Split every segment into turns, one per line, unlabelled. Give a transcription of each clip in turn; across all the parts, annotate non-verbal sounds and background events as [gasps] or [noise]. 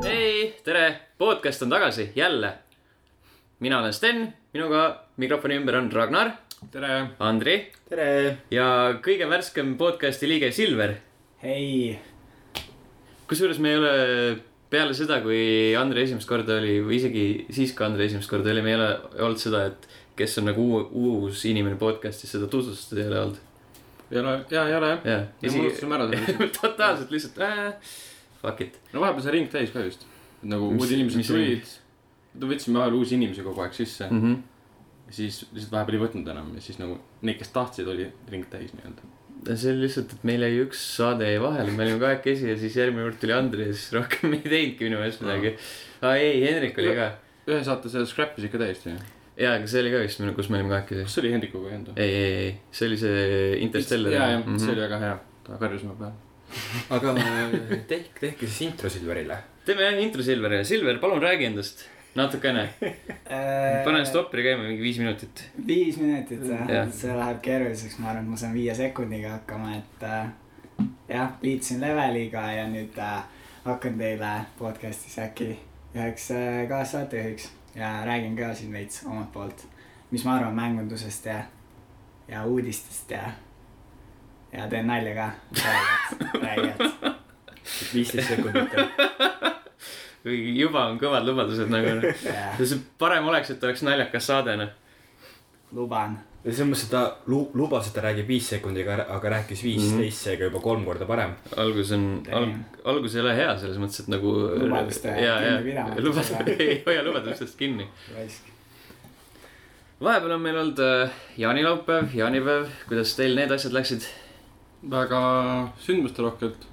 tere , podcast on tagasi jälle . mina olen Sten , minuga mikrofoni ümber on Ragnar ,
tere .
Andri
tere .
ja kõige värskem podcasti liige Silver .
hei .
kusjuures me ei ole peale seda , kui Andri esimest korda oli või isegi siis , kui Andri esimest korda oli , me ei ole olnud seda , et kes on nagu uu- uus inimene podcastis , seda tutvustada ei ole olnud .
ei ole , ja ei ole jah .
jah ,
ja me
[laughs]
unustasime ära selle .
totaalselt lihtsalt äh, fuck it .
no vahepeal see ring täis ka vist . nagu
Mis-
uued inimesed
mis
tulid . no võtsime vahepeal uusi inimesi kogu aeg sisse mm. .
Mm -hmm.
siis lihtsalt vahepeal ei võtnud enam ja siis nagu neid , kes tahtsid , oli ring täis nii-öelda .
see oli lihtsalt , et meil jäi üks saade jäi vahele , me olime kahekesi ja siis järgmine kord tuli Andri ja siis rohkem [laughs] ei teinudki minu meelest midagi . aa ei , Hendrik oli ka .
ühe saate selle scrap'is ikka täiesti ju .
jaa , aga see oli ka vist , kus me olime kahekesi .
kas see oli Hendrikuga enda ?
ei , Mhm. ei , ei , see oli see Interstellar .
jaa , jah , see oli väga hea . ta karjus mu peale .
aga [laughs] tehke , tehke siis intro Silverile .
teeme jah intro Silverile . Silver , palun räägi endast natukene . panen . stopperi käima mingi viis minutit .
Äh, viis minutit
Jah.
jah , see läheb keeruliseks , ma arvan , et ma saan viie sekundiga hakkama , et äh, jah , liitusin leveliga ja nüüd äh, hakkan teile podcast'is äkki üheks äh, kaassaatejuhiks ja räägin ka siin veits omalt poolt , mis ma arvan mängundusest ja , ja uudistest ja , ja teen nalja ka , räigelt ,
viisteist sekundit .
juba on kõvad lubadused nagu .
räigelt ,
see parem oleks , et oleks naljakas saade noh .
luban ,
ja selles mõttes , et ta lu- lubas , et ta räägib viis sekundit , aga , aga rääkis viisteist , seega juba kolm korda parem .
algus on ,
Damn.
algus ei ole hea selles mõttes , et nagu .
Lubaduste
ja ,
kinni
ja
pidama. ,
lubad , [laughs] ei hoia lubadustest kinni .
raisk .
vahepeal on meil olnud äh, jaanilaupäev , jaanipäev , kuidas teil need asjad läksid ?
väga sündmusterohkelt .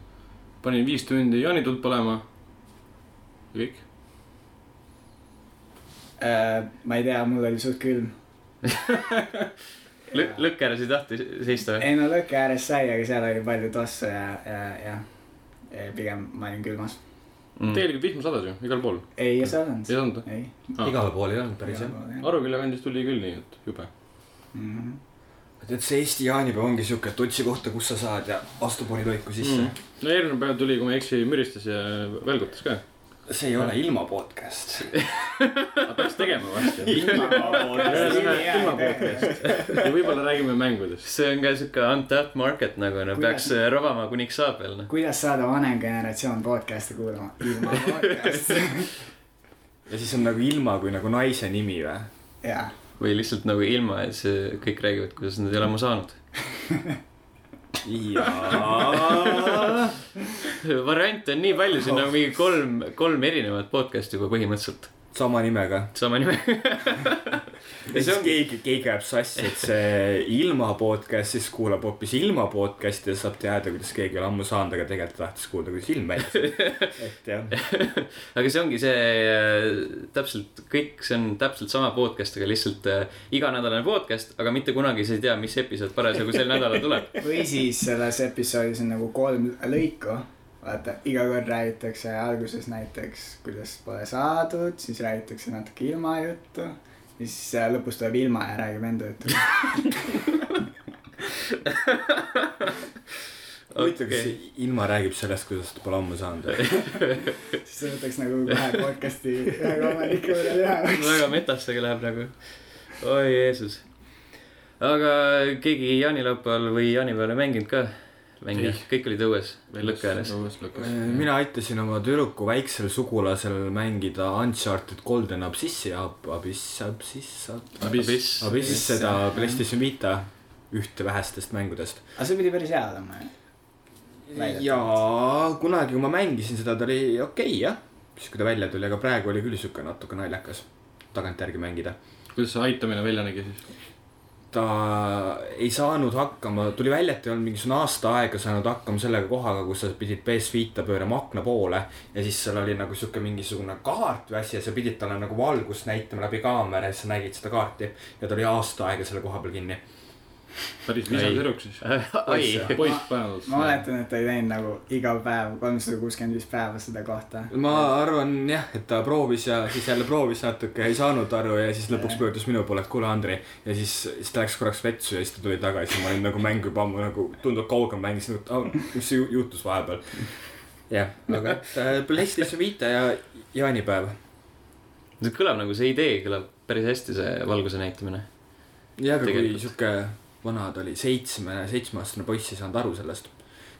panin viis tundi jaanituld põlema . ja kõik .
Mm.
Äh, ma ei tea , mul oli suht külm .
lõkke ääres ei tahta seista või ?
ei no lõkke ääres sai , aga seal oli palju tossu ja , ja , ja, ja pigem ma olin külmas .
Mm.
tegelikult vihma sadas ju , igal pool .
ei saanud
ei , olnud .
ei .
Ah.
igale poole ei olnud päris jah . Mm-hmm.
Aruküla kandis tuli küll nii , et jube .
tead , see Eesti jaanipäev ongi siuke , et otsi kohta , kus sa saad ja astu poriloiku sisse
Mm.
mm. .
no eelmine päev tuli , kui ma ei eksi , müristas ja välgutas ka .
see ei ole ilma [laughs] podcast .
aga peaks tegema varsti .
Mhm.
ilma
jah .
podcast . [laughs] ja võib-olla räägime mängudest .
see on ka siuke untapped market nagu , no
Kuidas-
peaks äh, rabama kuniks saab veel noh .
[laughs] kuidas saada vanem generatsioon podcast'e kuulama ? ilma podcast'i . [laughs]
ja siis on nagu ilma kui nagu naise nimi või ?
jaa ,
või lihtsalt nagu ilma , et see kõik räägivad , kuidas nad ei ole oma saanud .
jaa .
variante on nii palju , siin on mingi kolm , kolm erinevat podcast'i juba põhimõtteliselt .
sama nimega .
sama nimega .
ja siis keegi , keegi ajab sassi , et see ilma podcast , siis kuulab hoopis ilma podcast'i ja saab teada , kuidas keegi on ammu saanud , aga tegelikult tahtis kuulda , kuidas ilm väiksem . [laughs] et jah ,
[laughs] aga see ongi see äh, täpselt kõik , see on täpselt sama podcast , aga lihtsalt äh, iganädalane podcast , aga mitte kunagi sa ei tea , mis episood parasjagu sel nädalal tuleb .
või siis selles episoodis on nagu kolm lõiku vaata , iga kord räägitakse alguses näiteks , kuidas pole saadud , siis räägitakse natuke ilma juttu , siis äh, lõpus tuleb ilma ja räägib enda juttu .
huvitav , kas see ilma räägib sellest , kuidas ta pole ammu saanud või ?
siis see võtaks nagu kahe podcast'i ühe omaniku veel ühe .
väga metasse läheb nagu . oi Jeesus . aga keegi jaanilaupäeval või jaanipäeval ei mänginud ka mänge
Ei. ?
kõik olid õues , lõkke ääres .
[laughs] mina aitasin oma tüdruku väiksel sugulasel mängida Uncharted Golden Abyssi , Abyss , Abyss ,
abiss .
abiss .
Abyss , seda PlayStation Vita ühte vähestest mängudest .
aga see pidi päris hea olema ju . Väidetavalt.
jaa , kunagi kui ma mängisin seda , ta oli okei okay, jah , siis kui ta välja tuli , aga praegu oli küll sihuke natuke naljakas tagantjärgi mängida .
kuidas see aitamine välja nägi siis ?
ta ei saanud hakkama , tuli välja , et ei olnud mingisugune aasta aega saanud hakkama sellega kohaga , kus sa pidid PS Vita pöörama akna poole ja siis seal oli nagu sihuke mingisugune kaart või asi ja sa pidid talle nagu valgust näitama läbi kaamera ja sa nägid seda kaarti ja ta oli aasta aega selle koha peal kinni .
päris
Ei.
visa tüdruk siis .
oi ,
Poiss, jah.
poiss päevas .
ma oletan , et ta ei teinud nagu iga päev kolmsada kuuskümmend viis päeva seda kohta .
ma arvan jah , et ta proovis ja siis jälle proovis natuke , ei saanud aru ja siis lõpuks pöördus minu poole , et kuule , Andri . ja siis , siis ta läks korraks vetsu ja siis ta tuli tagasi , ma olin nagu mäng juba ammu nagu tundub kaugem mängis , nagu et au, mis ju- juhtus vahepeal . jah , aga et äh, PlayStation Vita ja jaanipäev .
see kõlab nagu see idee kõlab päris hästi , see valguse näitamine .
jah , aga kui
Tegelikult.
sihuke vana ta oli , seitsme , seitsmeaastane poiss ei saanud aru sellest .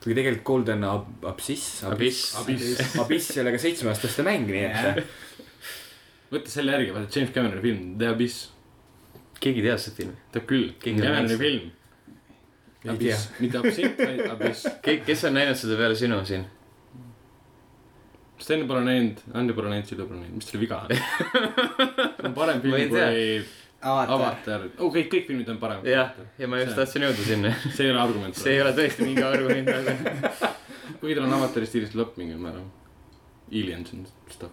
kuigi tegelikult Golden Ab- Absiss ,
Abyss.
Abyss , Abyss ei ole ka seitsmeaastaste mäng , nii et .
võta selle järgi , vaata James Cameroni film The Abyss ,
keegi teab seda filmi .
teab küll ,
Keegi
Cameroni
teab.
film .
Ei
Abyss , mitte Absint , vaid Abyss .
kõik , kes on näinud seda peale sinu siin ? [laughs]
Sten pole näinud , Andi pole näinud , Sido pole näinud , mis teil viga on ? see on parem
Ma ei
film
tea.
kui
avatar .
Avatar , okei , kõik filmid on paremad .
jah , ja ma just
See-
tahtsin jõuda sinna .
see ei ole argument .
see ei ole tõesti mingi argument , aga
[laughs] kuigi tal on avatari stiilis lõpp mingil määral . Aliens and stuff .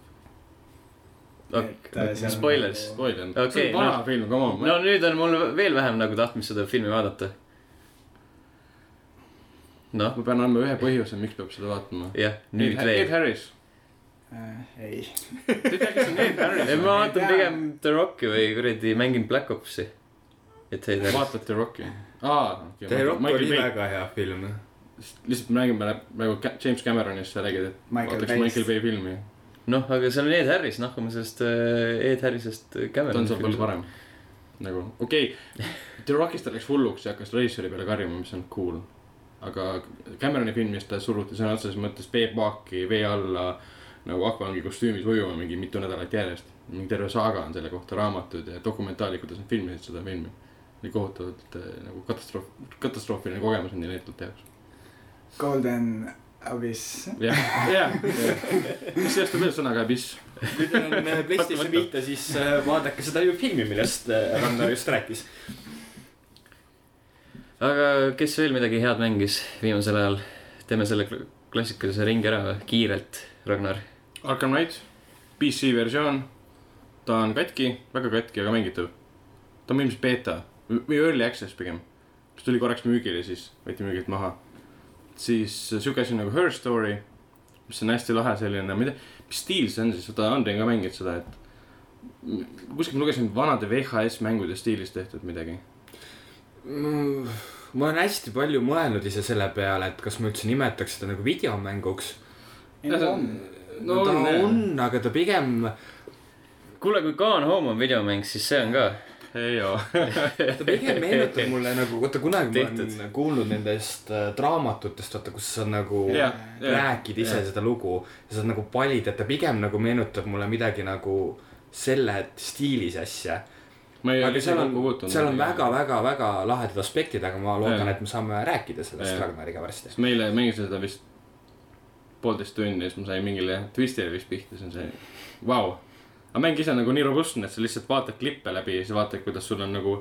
äh,
spoilers.
nagu,
Spoil on
Okei,
okay, , see on vana no. film , come on
no . nüüd on mul veel vähem nagu tahtmist seda filmi vaadata . noh ,
ma pean andma ühe põhjuse , miks peab seda vaatama .
jah , nüüd veel
Ed . Harris .
äh, ei ,
Te ei tea , kes on Ed Harris
ei ,
või ?
ma vaatan pigem The Rocki või kuradi mängin Black Opsi . et see ei tea .
vaatad The Rocki ? aa ,
The Rock oli . väga hea film .
lihtsalt me räägime nagu Ca- James Cameronist , sa räägid , et
Michael
vaataks
Bay's.
Michael Bay filmi .
noh , aga seal on Ed Harris , noh , kui ma sellest äh, Ed Harrisest
ta on seal palju . parem . nagu , okei okay. , The Rockist ta läks hulluks ja hakkas reisijari peale karjuma , mis on cool . aga Cameroni filmis ta suruti sõna otseses mõttes veepaaki vee alla nagu akvangi kostüümis ujuma mingi mitu nädalat järjest . mingi terve saaga on selle kohta , raamatud ja dokumentaali , kuidas nad filmisid seda filmi . oli kohutavalt eh, nagu katastroof , katastroofiline kogemus nende näitlejate jaoks .
Golden Abyss .
jah , jah , jah . mis sellest on veel sõnaga abiss ?
kui teil on äh, PlayStation Vita , siis äh, vaadake seda ju filmi , millest äh, Ragnar just rääkis .
aga kes veel midagi head mängis viimasel ajal ? teeme selle kl- klassikalise ringi ära või? kiirelt , Ragnar .
Arkham Knight , PC versioon . ta on katki , väga katki , aga mängitav . ta on ilmselt beeta või early access pigem . kas tuli korraks müügile , siis võeti müügilt maha . siis äh, siuke asi nagu Her Story , mis on hästi lahe selline , ma ei tea , mis stiil see on siis , vaata Andrei on ka mänginud seda , et m- kuskilt ma lugesin et vanade VHS mängude stiilis tehtud midagi .
ma olen hästi palju mõelnud ise selle peale , et kas ma üldse nimetaks seda nagu videomänguks . no ta on , aga ta pigem ,
kuule , kui Gone Home on videomäng , siis see on ka .
ei joo . [laughs]
ta pigem [laughs] meenutab mulle nagu , vaata kunagi ma
Tehtud.
olen kuulnud nendest äh, raamatutest , vaata , kus sa nagu
jah , jah .
räägid ise
jah.
seda lugu ja sa nagu palid , et ta pigem nagu meenutab mulle midagi nagu selle stiilis asja .
ma ei
aga
ole
seal
seal
on
kokku , puutunud .
seal on väga-väga-väga lahedad aspektid , aga ma loodan ,
Jaa.
et me saame rääkida sellest
Jaa.
Ragnariga varsti .
sest meile mängis seda vist poolteist tundi ja siis ma sain mingile twistile vist pihta , siis on see vau wow. . aga mäng ise on nagu nii robustne , et sa lihtsalt vaatad klippe läbi ja siis vaatad , kuidas sul on nagu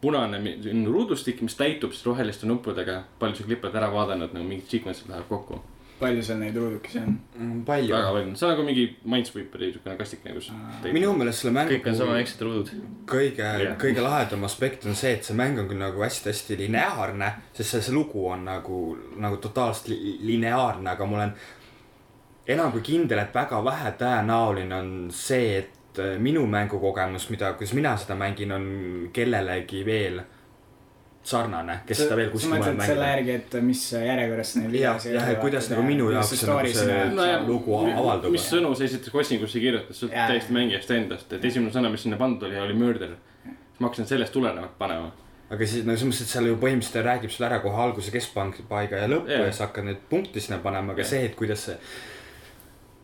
punane mi- selline ruudustik , mis täitub siis roheliste nuppudega . palju sa klippe oled ära vaadanud , nagu mingid sequence'id lähevad kokku .
palju seal neid ruudukesi on ?
Mm, palju
väga . palju , see on nagu mingi Minesweeperi siukene kastikene , kus täitub .
minu meelest selle mängu
kõik on sama väiksed ruudud .
kõige
Jah.
yeah. , kõige lahedam aspekt on see , et see mäng on küll nagu hästi-hästi lineaarne , sest see, see lugu on nagu , nagu totaalselt li- lineaarne , aga ma olen enam kui kindel , et väga vähe tõenäoline on see , et äh, minu mängukogemus , mida , kuidas mina seda mängin , on kellelegi veel sarnane , kes seda veel kuskil mujal
mängib . selle
mängib .
järgi , et mis järjekorras neil
jah , jah , et kuidas nagu minu jaoks on nagu see
Nojah,
lugu
mi-
avaldub .
mis sõnu sa esiteks otsingusse kirjutad , sõltub
Jaa.
täiesti mängijast endast , et esimene sõna , mis sinna pandud oli , oli murder . siis ma hakkasin sellest tulenevalt panema .
aga siis no selles mõttes , et seal ju põhimõtteliselt ta räägib sulle ära kohe alguse keskpaiga ja lõppu
Jaa.
yeah. ja sa hakkad neid punkte sinna panema , aga
Jaa.
yeah. see , et kuidas see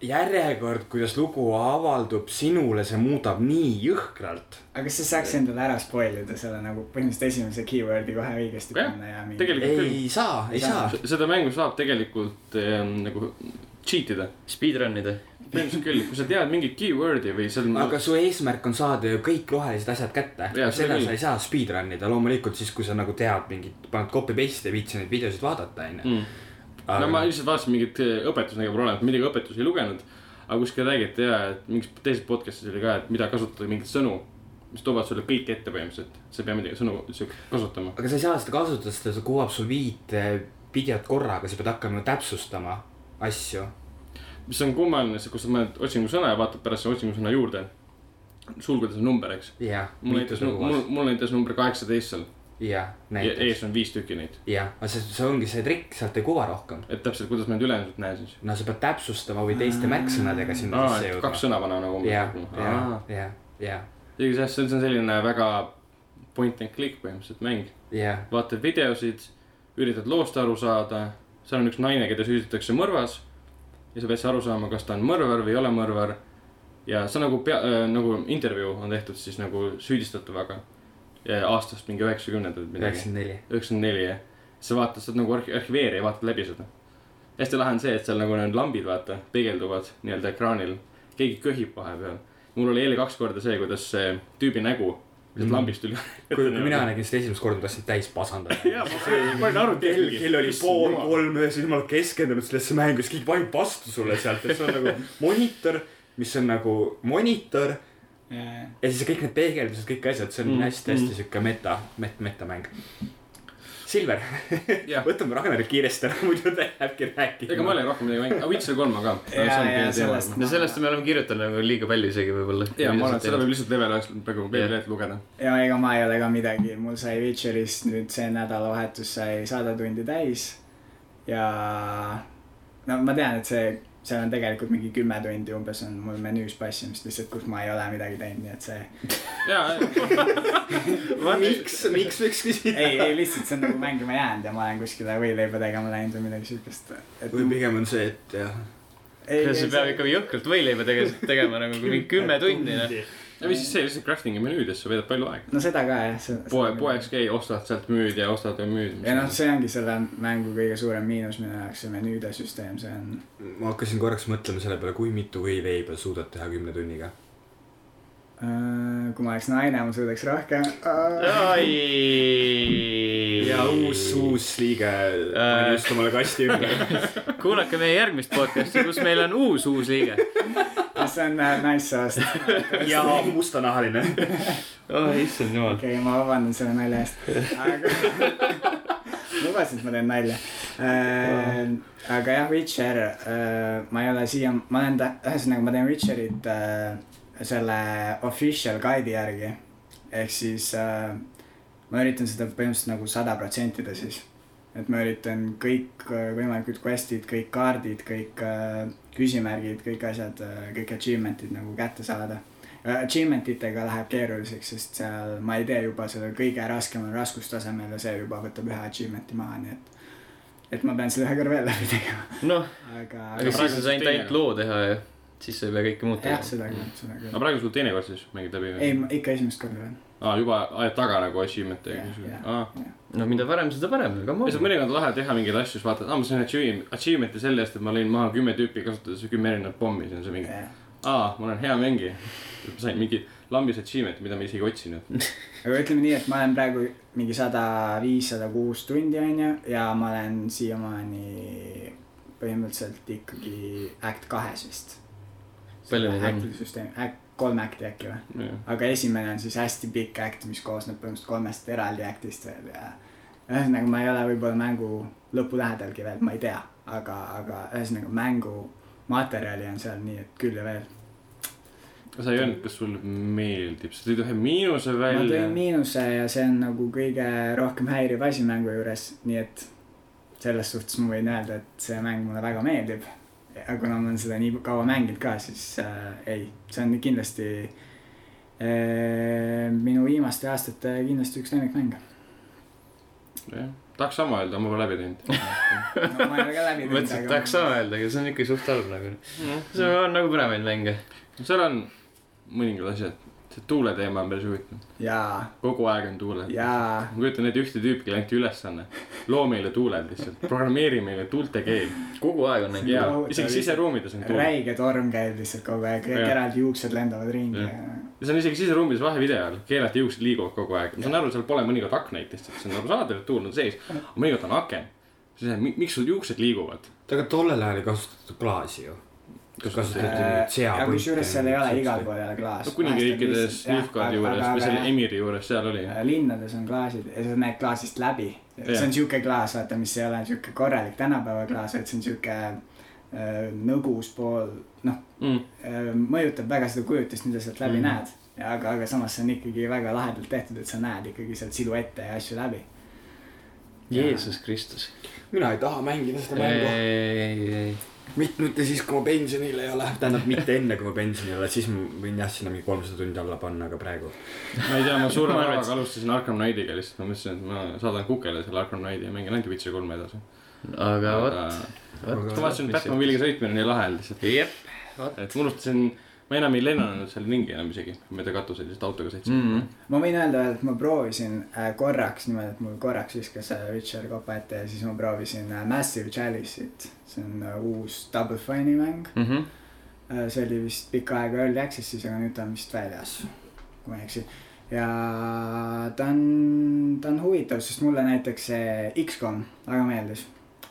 järjekord , kuidas lugu avaldub sinule , see muudab nii jõhkralt .
aga kas sa saaks endale ära spoil ida selle nagu põhimõtteliselt esimese keyword'i kohe õigesti
Jah,
panna ja mingi .
tegelikult küll
ei saa , ei
Ei saa.
saa .
S- seda mängu saab tegelikult eh, nagu cheat ida ,
Speedrun ida .
põhimõtteliselt küll , kui sa tead mingit keyword'i või seal .
aga su eesmärk on saada ju kõik rohelised asjad kätte .
Jaa, see
seda
küll.
sa ei saa speedrun ida , loomulikult siis , kui sa nagu tead mingit , paned copy paste ja viitsid neid videosid vaadata , onju .
Mm. no ma lihtsalt vaatasin mingit eh, õpetusnägu programmi , muidugi õpetusi ei lugenud , aga kuskil räägiti ja , et mingis teises podcast'is oli ka , et mida kasutada , mingeid sõnu , mis toovad sulle kõik ette põhimõtteliselt , sa ei pea midagi sõnu üldse kasutama .
aga sa ei saa seda kasutada , sest see kuvab sul viit eh, videot korraga , sa pead hakkama täpsustama asju
mis on kummaline , see , kui sa paned otsingusõna ja vaatad pärast selle otsingusõna juurde , sulgudes on number , eks .
jah ,
mul näitas , mul , mul näitas number kaheksateist seal ,
jah , näiteks ,
ees on viis tükki neid ,
jah , aga see , see ongi see trikk , sealt ei kuva rohkem .
et täpselt , kuidas ma nüüd ülejäänud näen siis .
no sa pead täpsustama või teiste märksõnadega sinna
aa ,
sisse
et
jõudma
kaks . sõna panema nagu
jah , jah
umbes .,
jah , jah ,
igatahes see on selline väga point and click põhimõtteliselt mäng ,
jah ,
vaatad videosid , üritad loost aru saada , seal on üks naine , keda süüdistatakse mõrvas ja sa pead siis aru saama , kas ta on mõrvar või ei ole mõrvar . ja see on nagu pea äh, , nagu intervjuu on tehtud siis nagu süüdistatavaga Ja aastast mingi üheksakümnendad midagi .
üheksakümmend neli .
üheksakümmend neli jah , sa vaatad , sa oled nagu arhi- , arhiveerija , vaatad läbi seda . hästi lahe on see , et seal nagu need lambid , vaata , peegelduvad nii-öelda ekraanil , keegi köhib vahepeal . mul oli eile kaks korda see , kuidas see tüübi nägu lihtsalt
Mhm.
mm. lambist tuli .
kui , kui mina nägin seda esimest korda , ma tahtsin täis pasandada .
nagu- [laughs] jaa , ma olin aru
kell , kell oli pool . kolm öösel , jumal keskendunud sellesse mängu , siis keegi vajub vastu sulle sealt ja see on nagu monitor , mis on nagu monitor ja siis kõik need peegeldused , kõik asjad , see on
Mm,
hästi-hästi
mm.
sihuke meta , met- , metamäng . Silver ,
jah ,
[laughs] võtame Ragnari kiiresti ära , muidu ta jääbki rääkima .
ega ma ei ole rohkem midagi mänginud , aga Witcher kolm aga .
Jaa, jaa, sellest-
no sellest me oleme kirjutanud nagu liiga palju isegi võib-olla .
ja ma arvan , et seda võib lihtsalt level ühest praegu veebilehelt lugeda .
ja ega ma ei ole ka midagi , mul sai Witcherist nüüd see nädalavahetus sai sada tundi täis . ja no ma tean , et see , seal on tegelikult mingi kümme tundi umbes on mul menüüs passimist lihtsalt , kus ma ei ole midagi teinud , nii et see . [laughs]
jaa ,
miks , miks võiks küsida ?
ei , ei lihtsalt see on nagu mängima jäänud ja ma olen kuskile võileiba tegema läinud või midagi siukest .
[laughs] või pigem on see , et jah .
[laughs] see peab ikka jõhkralt võileiba tegema , tegema nagu mingi kümme tundi , noh .
ja või siis see lihtsalt crafting'i menüüdes sa veedad palju aega .
no seda ka jah .
poe , poeks käi , ostad sealt müüd ja ostad ja müüd .
ja noh , see ongi selle mängu kõige suurem miinus minu jaoks , see menüüde süsteem , see on .
ma hakkasin korraks mõtlema selle peale , kui mitu võileiba suudad teha kümne tunniga .
äh, kui ma oleks naine , ma suudaks rohkem .
ai .
ja uus ,. uus liige
Äh.
pani just omale kasti ümber .
kuulake meie järgmist podcast'i , kus meil on uus uus liige .
see on äh, nice saast .
ja mustanahaline .
oh issand jumal .
okei okay, , ma vabandan selle nalja eest , aga [laughs] lubasin , et ma teen nalja äh, . aga jah , Witcher äh, , ma ei ole siia , ma olen ta , ühesõnaga ma teen Witcherit äh, selle official guide'i järgi . ehk siis äh, ma üritan seda põhimõtteliselt nagu sada protsenti teha siis . et ma üritan kõik äh, võimalikud quest'id , kõik kaardid , kõik äh, küsimärgid , kõik asjad , kõik achievement'id nagu kätte saada . Achievement itega Äh, läheb keeruliseks , sest seal ma ei tee juba seda kõige raskemal raskustasemel ja see juba võtab ühe achievement'i maha , nii et . et ma pean selle ühe korra veel läbi tegema ,
noh ,
aga .
aga siis sa said ainult loo teha ja siis sa ei pea kõike muud
jah ,
tegema .
seda küll , seda
aga
küll .
praegu sul teine kord siis mängid läbi või ?
ei , ikka esimest korda veel .
aa , juba ajad taga nagu achievement'e ja
Jah,
niisugune
jah. ,
aa .
no mida varem , seda parem , come
ja see on
on .
mõnikord lahe teha mingeid asju , siis vaatad , aa , ma sain achieve- , achievement'i selle eest , et ma lõin maha kümme tüüpi , kasutades kümme erinevat pommi , siis on see mingi , aa , ma olen hea mängija . ma sain mingi lambis achievement'i , mida ma isegi ei otsinud .
aga ütleme nii , et ma olen praegu mingi sada viis , sada kuus tundi onju ja ma olen siiamaani põhimõtteliselt ikkagi Act kahes vist .
Palju neid on?
on ? Act , kolm Act'i äkki või ? aga esimene on siis hästi pikk äkt , mis koosneb põhimõtteliselt kolmest eraldi äktist veel ja ühesõnaga , ma ei ole võib-olla mängu lõpu lähedalgi veel , ma ei tea , aga , aga ühesõnaga mängu materjali on seal nii , et küll ja veel .
sa ei öelnud , kas sulle meeldib , sa tõid ühe miinuse
ma
välja
tõin . miinuse ja see on nagu kõige rohkem häiriv asi mängu juures , nii et selles suhtes ma võin öelda , et see mäng mulle väga meeldib . aga kuna ma olen seda nii kaua mänginud ka , siis äh, ei , see on kindlasti äh, minu viimaste aastate kindlasti üks lemmikmäng .
tahaks sama öelda , ma pole läbi teinud .
no ma ei ole ka läbi teinud .
mõtlesin , et tahaks sama . öelda , aga see on ikka suht halb nagu . see on nagu paremaid mänge .
seal on mõningad asjad , see tuule teema on päris huvitav ,
jaa ,
kogu aeg on tuuled .
jaa ,
ma kujutan ette ühte tüüpi , kellele anti ülesanne , loo meile tuuled lihtsalt , programmeeri meile tuulte keel
kogu aeg on neid .
ja isegi siseruumides on tuul .
räige torm käib lihtsalt kogu aeg , kõik
Jah.
eraldi juuksed lendavad ringi
Jah.
ja
see on isegi siseruumides vahevideo ajal , keelati juuksed liiguvad kogu aeg , ma saan aru , seal pole mõnikord aknaid lihtsalt , see on arusaadav , et tuul on sees , aga mõnikord on aken . siis on , miks sul juuksed liiguvad ?
[laughs] aga tollel ajal ei kasutatud klaasi ju .
Äh,
kasutati
ja kusjuures seal ei ole igal . pool ei ole klaas
no . kuningriikides Nilfgaardi juures või selle . emiri juures , seal oli .
linnades on klaasid ja sa näed klaasist läbi . see
Jah.
on siuke klaas , vaata , mis ei ole siuke korralik tänapäeva klaas , vaid see on siuke äh, nõgus pool , noh ,
Mm.
äh, mõjutab väga seda kujutist , mida sealt läbi
Mhm.
mm. näed . aga , aga samas see on ikkagi väga lahedalt tehtud , et sa näed ikkagi sealt siluette ja asju läbi .
Jeesus Kristus .
mina ei taha mängida seda mängu .
ei , ei ,
mitte nüüd ja siis , kui ma pensionile ei ole . tähendab , mitte enne , kui ma pensionil ei ole , siis ma võin jah , sinna mingi kolmsada tundi alla panna , aga praegu .
ma ei tea , ma suure
Ma arvan, et-
vaevaga alustasin Arkham Knightiga lihtsalt , ma mõtlesin , et ma saadan kukele selle Arkham Knighti ja mängin ainult Witcher kolme edasi .
aga vot , vot .
ma vaatasin , et Batman Williga sõitmine on nii lahe lihtsalt .
jep ,
et ma unustasin , ma enam ei lennanud seal ringi enam isegi , mööda katusel lihtsalt autoga sõitsin
Mhm.
ma võin öelda , et ma proovisin äh, korraks , niimoodi , et mul korraks viskas äh, Witcher kopa ette ja siis ma proovisin äh, Massive Chalice'it . see on äh, uus Double Fine'i mäng .
Mhm.
see oli vist pikka aega Early Access'is , aga nüüd ta on vist väljas , kui ma ei eksi . ja ta on , ta on huvitav , sest mulle näiteks see X-kom väga meeldis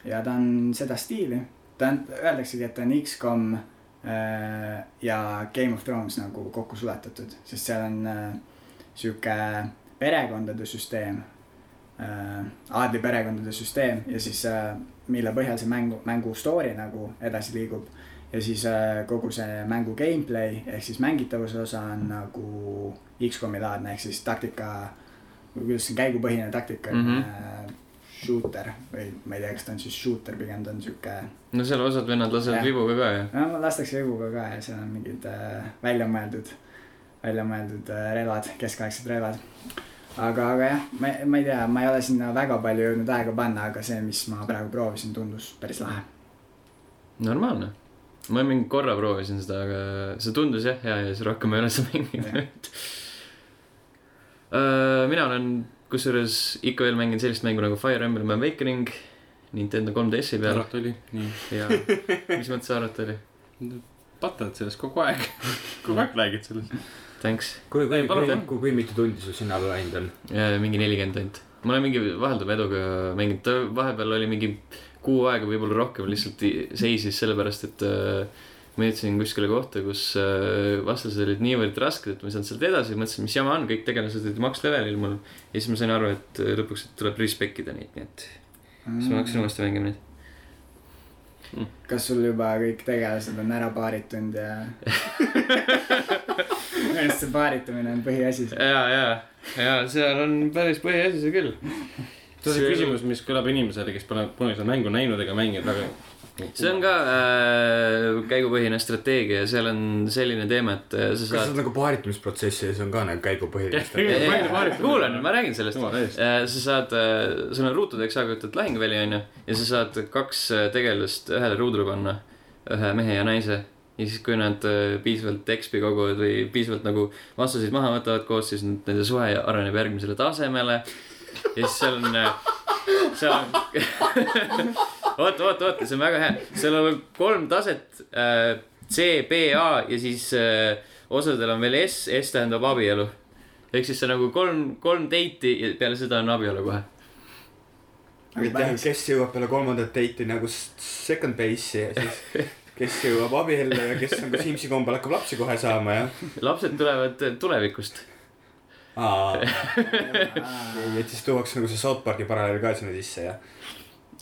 ja ta on seda stiili , ta on , öeldaksegi , et ta on X-kom äh, ja Game of Thrones nagu kokku suletatud , sest seal on äh, sihuke perekondade süsteem äh, , aadliperekondade süsteem ja siis äh, mille põhjal see mängu , mängu story nagu edasi liigub . ja siis äh, kogu see mängu gameplay ehk siis mängitavuse osa on nagu X-komi laadne ehk siis taktika , või kuidas see on , käigupõhine taktikaline mm
Mhm.
-hmm. shooter või ma ei tea , kas ta on siis shooter , pigem ta on sihuke ,
no seal osad vennad lasevad
Jah.
vibuga ka ju .
no lastakse vibuga ka ja seal on mingid äh, väljamõeldud , väljamõeldud äh, relvad , keskaegsed relvad . aga , aga jah , ma , ma ei tea , ma ei ole sinna väga palju jõudnud aega panna , aga see , mis ma praegu proovisin , tundus päris lahe .
normaalne . ma mingi korra proovisin seda , aga see tundus jah hea ja siis rohkem ei ole seda mänginud . Äh, mina olen kusjuures ikka veel mänginud sellist mängu nagu Fire Emblem Awakening Nintendo 3DS-i peal
ära tuli , nii .
ja mis mõttes arvata oli ?
patad sellest kogu aeg , [laughs] kogu aeg räägid sellest .
Thanks ,
kui , kui
Ei, , palun,
kui,
jah.
kui, kui mitu tundi sul sinna alla läinud on ?
mingi nelikümmend ainult . ma olen mingi vahelduva eduga mänginud , ta vahepeal oli mingi kuu aega , võib-olla rohkem lihtsalt i- seisis sellepärast , et äh, ma jõudsin kuskile kohta , kus äh, vastased olid niivõrd rasked , et ma ei saanud sealt edasi , mõtlesin , mis jama on , kõik tegelased olid maks levelil mul . ja siis ma sain aru , et äh, lõpuks tuleb respect ida neid , nii et siis ma hakkasin uuesti mängima neid .
kas sul juba kõik tegelased on ära paaritunud ja minu arust see paaritumine on põhiasi .
ja , ja , ja seal on päris põhiasi see küll .
see on see küsimus , mis kõlab inimesele , kes pole kunagi seda mängu näinud ega mänginud väga .
see on ka äh, käigupõhine strateegia ja seal on selline teema , et äh, sa
kas sa
saad
oled nagu paaritumisprotsessi ja see on ka nagu käigupõhine
Jah, ?
Ei, ei,
Palju
ei,
paaritamine.
kuulan , ma räägin sellest .
jumala eest .
Äh, sa saad , sul on ruutudeks aeg-ajalt lahinguväli onju ja sa saad kaks äh, tegelast ühele ruudule panna , ühe mehe ja naise . ja siis , kui nad äh, piisavalt ekspi koguvad või piisavalt nagu vastuseid maha võtavad koos , siis nüüd nende suhe areneb järgmisele tasemele . ja siis seal on , seal on [laughs] oota , oota , oota , see on väga hea , seal on kolm taset äh, C , B , A ja siis äh, osadel on veel S , S tähendab abielu . ehk siis see nagu kolm , kolm date'i ja peale seda on abielu kohe .
mitte , kes jõuab peale kolmandat date'i nagu s- second base'i ja siis kes jõuab abiellu ja kes nagu Simsi kombel hakkab lapsi kohe saama ja .
lapsed tulevad tulevikust .
[laughs] nii , et siis tuuakse nagu see South Park'i paralleel ka sinna sisse ja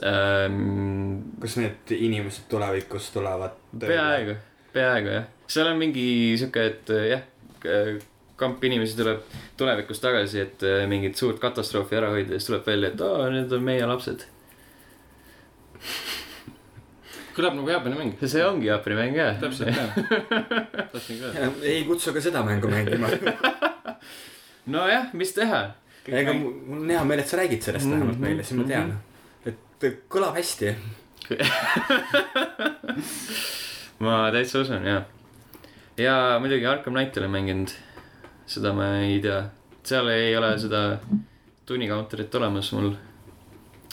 Ähm,
kus need inimesed tulevikus tulevad .
peaaegu , peaaegu jah , seal on mingi sihuke , et äh, jah , kamp inimesi tuleb tulevikus tagasi , et äh, mingit suurt katastroofi ära hoida ja siis tuleb välja , et aa , need on meie lapsed .
kõlab nagu Jaapani mäng .
see ongi Jaapani mäng jah .
täpselt [laughs] jah . tahtsin ka öelda .
ei kutsu ka seda mängu mängima . [laughs]
nojah , mis teha
ega mu- mul on hea meel , et sa räägid sellest
Mhm,
vähemalt meile , siis ma tean , et kõlab hästi .
ma täitsa usun , jaa . ja muidugi Arkham Knight olen mänginud . seda ma ei tea , seal ei ole seda tunnikauntorit olemas mul .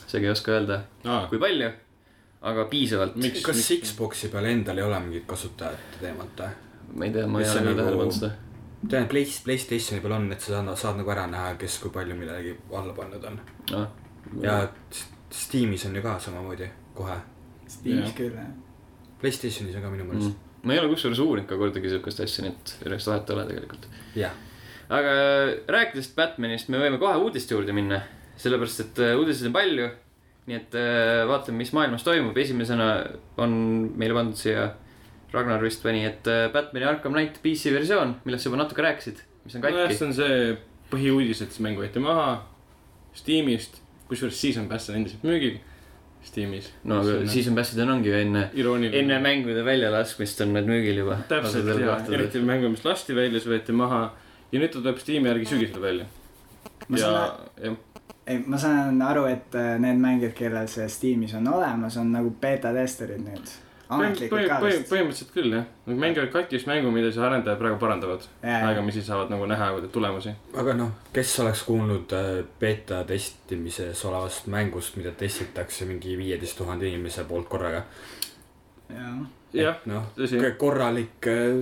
seega ei oska öelda ,
aa ,
kui palju , aga piisavalt .
Miks?
kas Xbox'i peal endal ei ole mingit kasutajate teemat või ?
ma ei tea , ma ei
Mis
ole
see
ka
nagu-
tähele pannud seda .
tean , et Play- , Playstationi peal on , et sa saad, saad nagu ära näha , kes kui palju millegi alla pannud on .
noh ,
ja s- Steamis on ju ka samamoodi kohe .
Steamis
Jah.
küll jah .
Playstationis on ka minu meelest
mm. . ma ei ole kusjuures uurinud ka kordagi siukest asja , nii et sellest vahet ei ole tegelikult .
jah ,
aga äh, rääkides Batmanist , me võime kohe uudiste juurde minna , sellepärast et äh, uudiseid on palju . nii et äh, vaatame , mis maailmas toimub , esimesena on meile pandud siia Ragnar vist pani , et äh, Batman'i Arkham Knight PC versioon , millest sa juba natuke rääkisid , mis on
nojah ,
katki .
see on see põhiuudis , et see mäng võeti maha Steamist , kusjuures Season Pass on endiselt müügil Steamis .
no aga Season Passidel ongi ju enne ,
irooniline .
enne mängude väljalaskmist on need müügil juba .
täpselt ja eriti mängu , mis lasti välja , siis võeti maha ja nüüd ta tuleb Steam'i järgi sügisel välja .
Ma
ja
saan ,
jah ,
ei , ma saan aru , et äh, need mängijad , kellel see Steamis on olemas , on nagu beeta testerid nüüd . ametlikult ka vist .
põhimõtteliselt küll jah , nad mängivad katkist mängu , mida siis arendajad praegu parandavad , aga mis siis saavad nagu näha kuidagi tulemusi .
aga noh , kes oleks kuulnud äh, beeta testimises olevast mängust , mida testitakse mingi viieteist tuhande inimese poolt korraga .
jah ,
jah ,
noh ,
tõsi ,
korralik äh,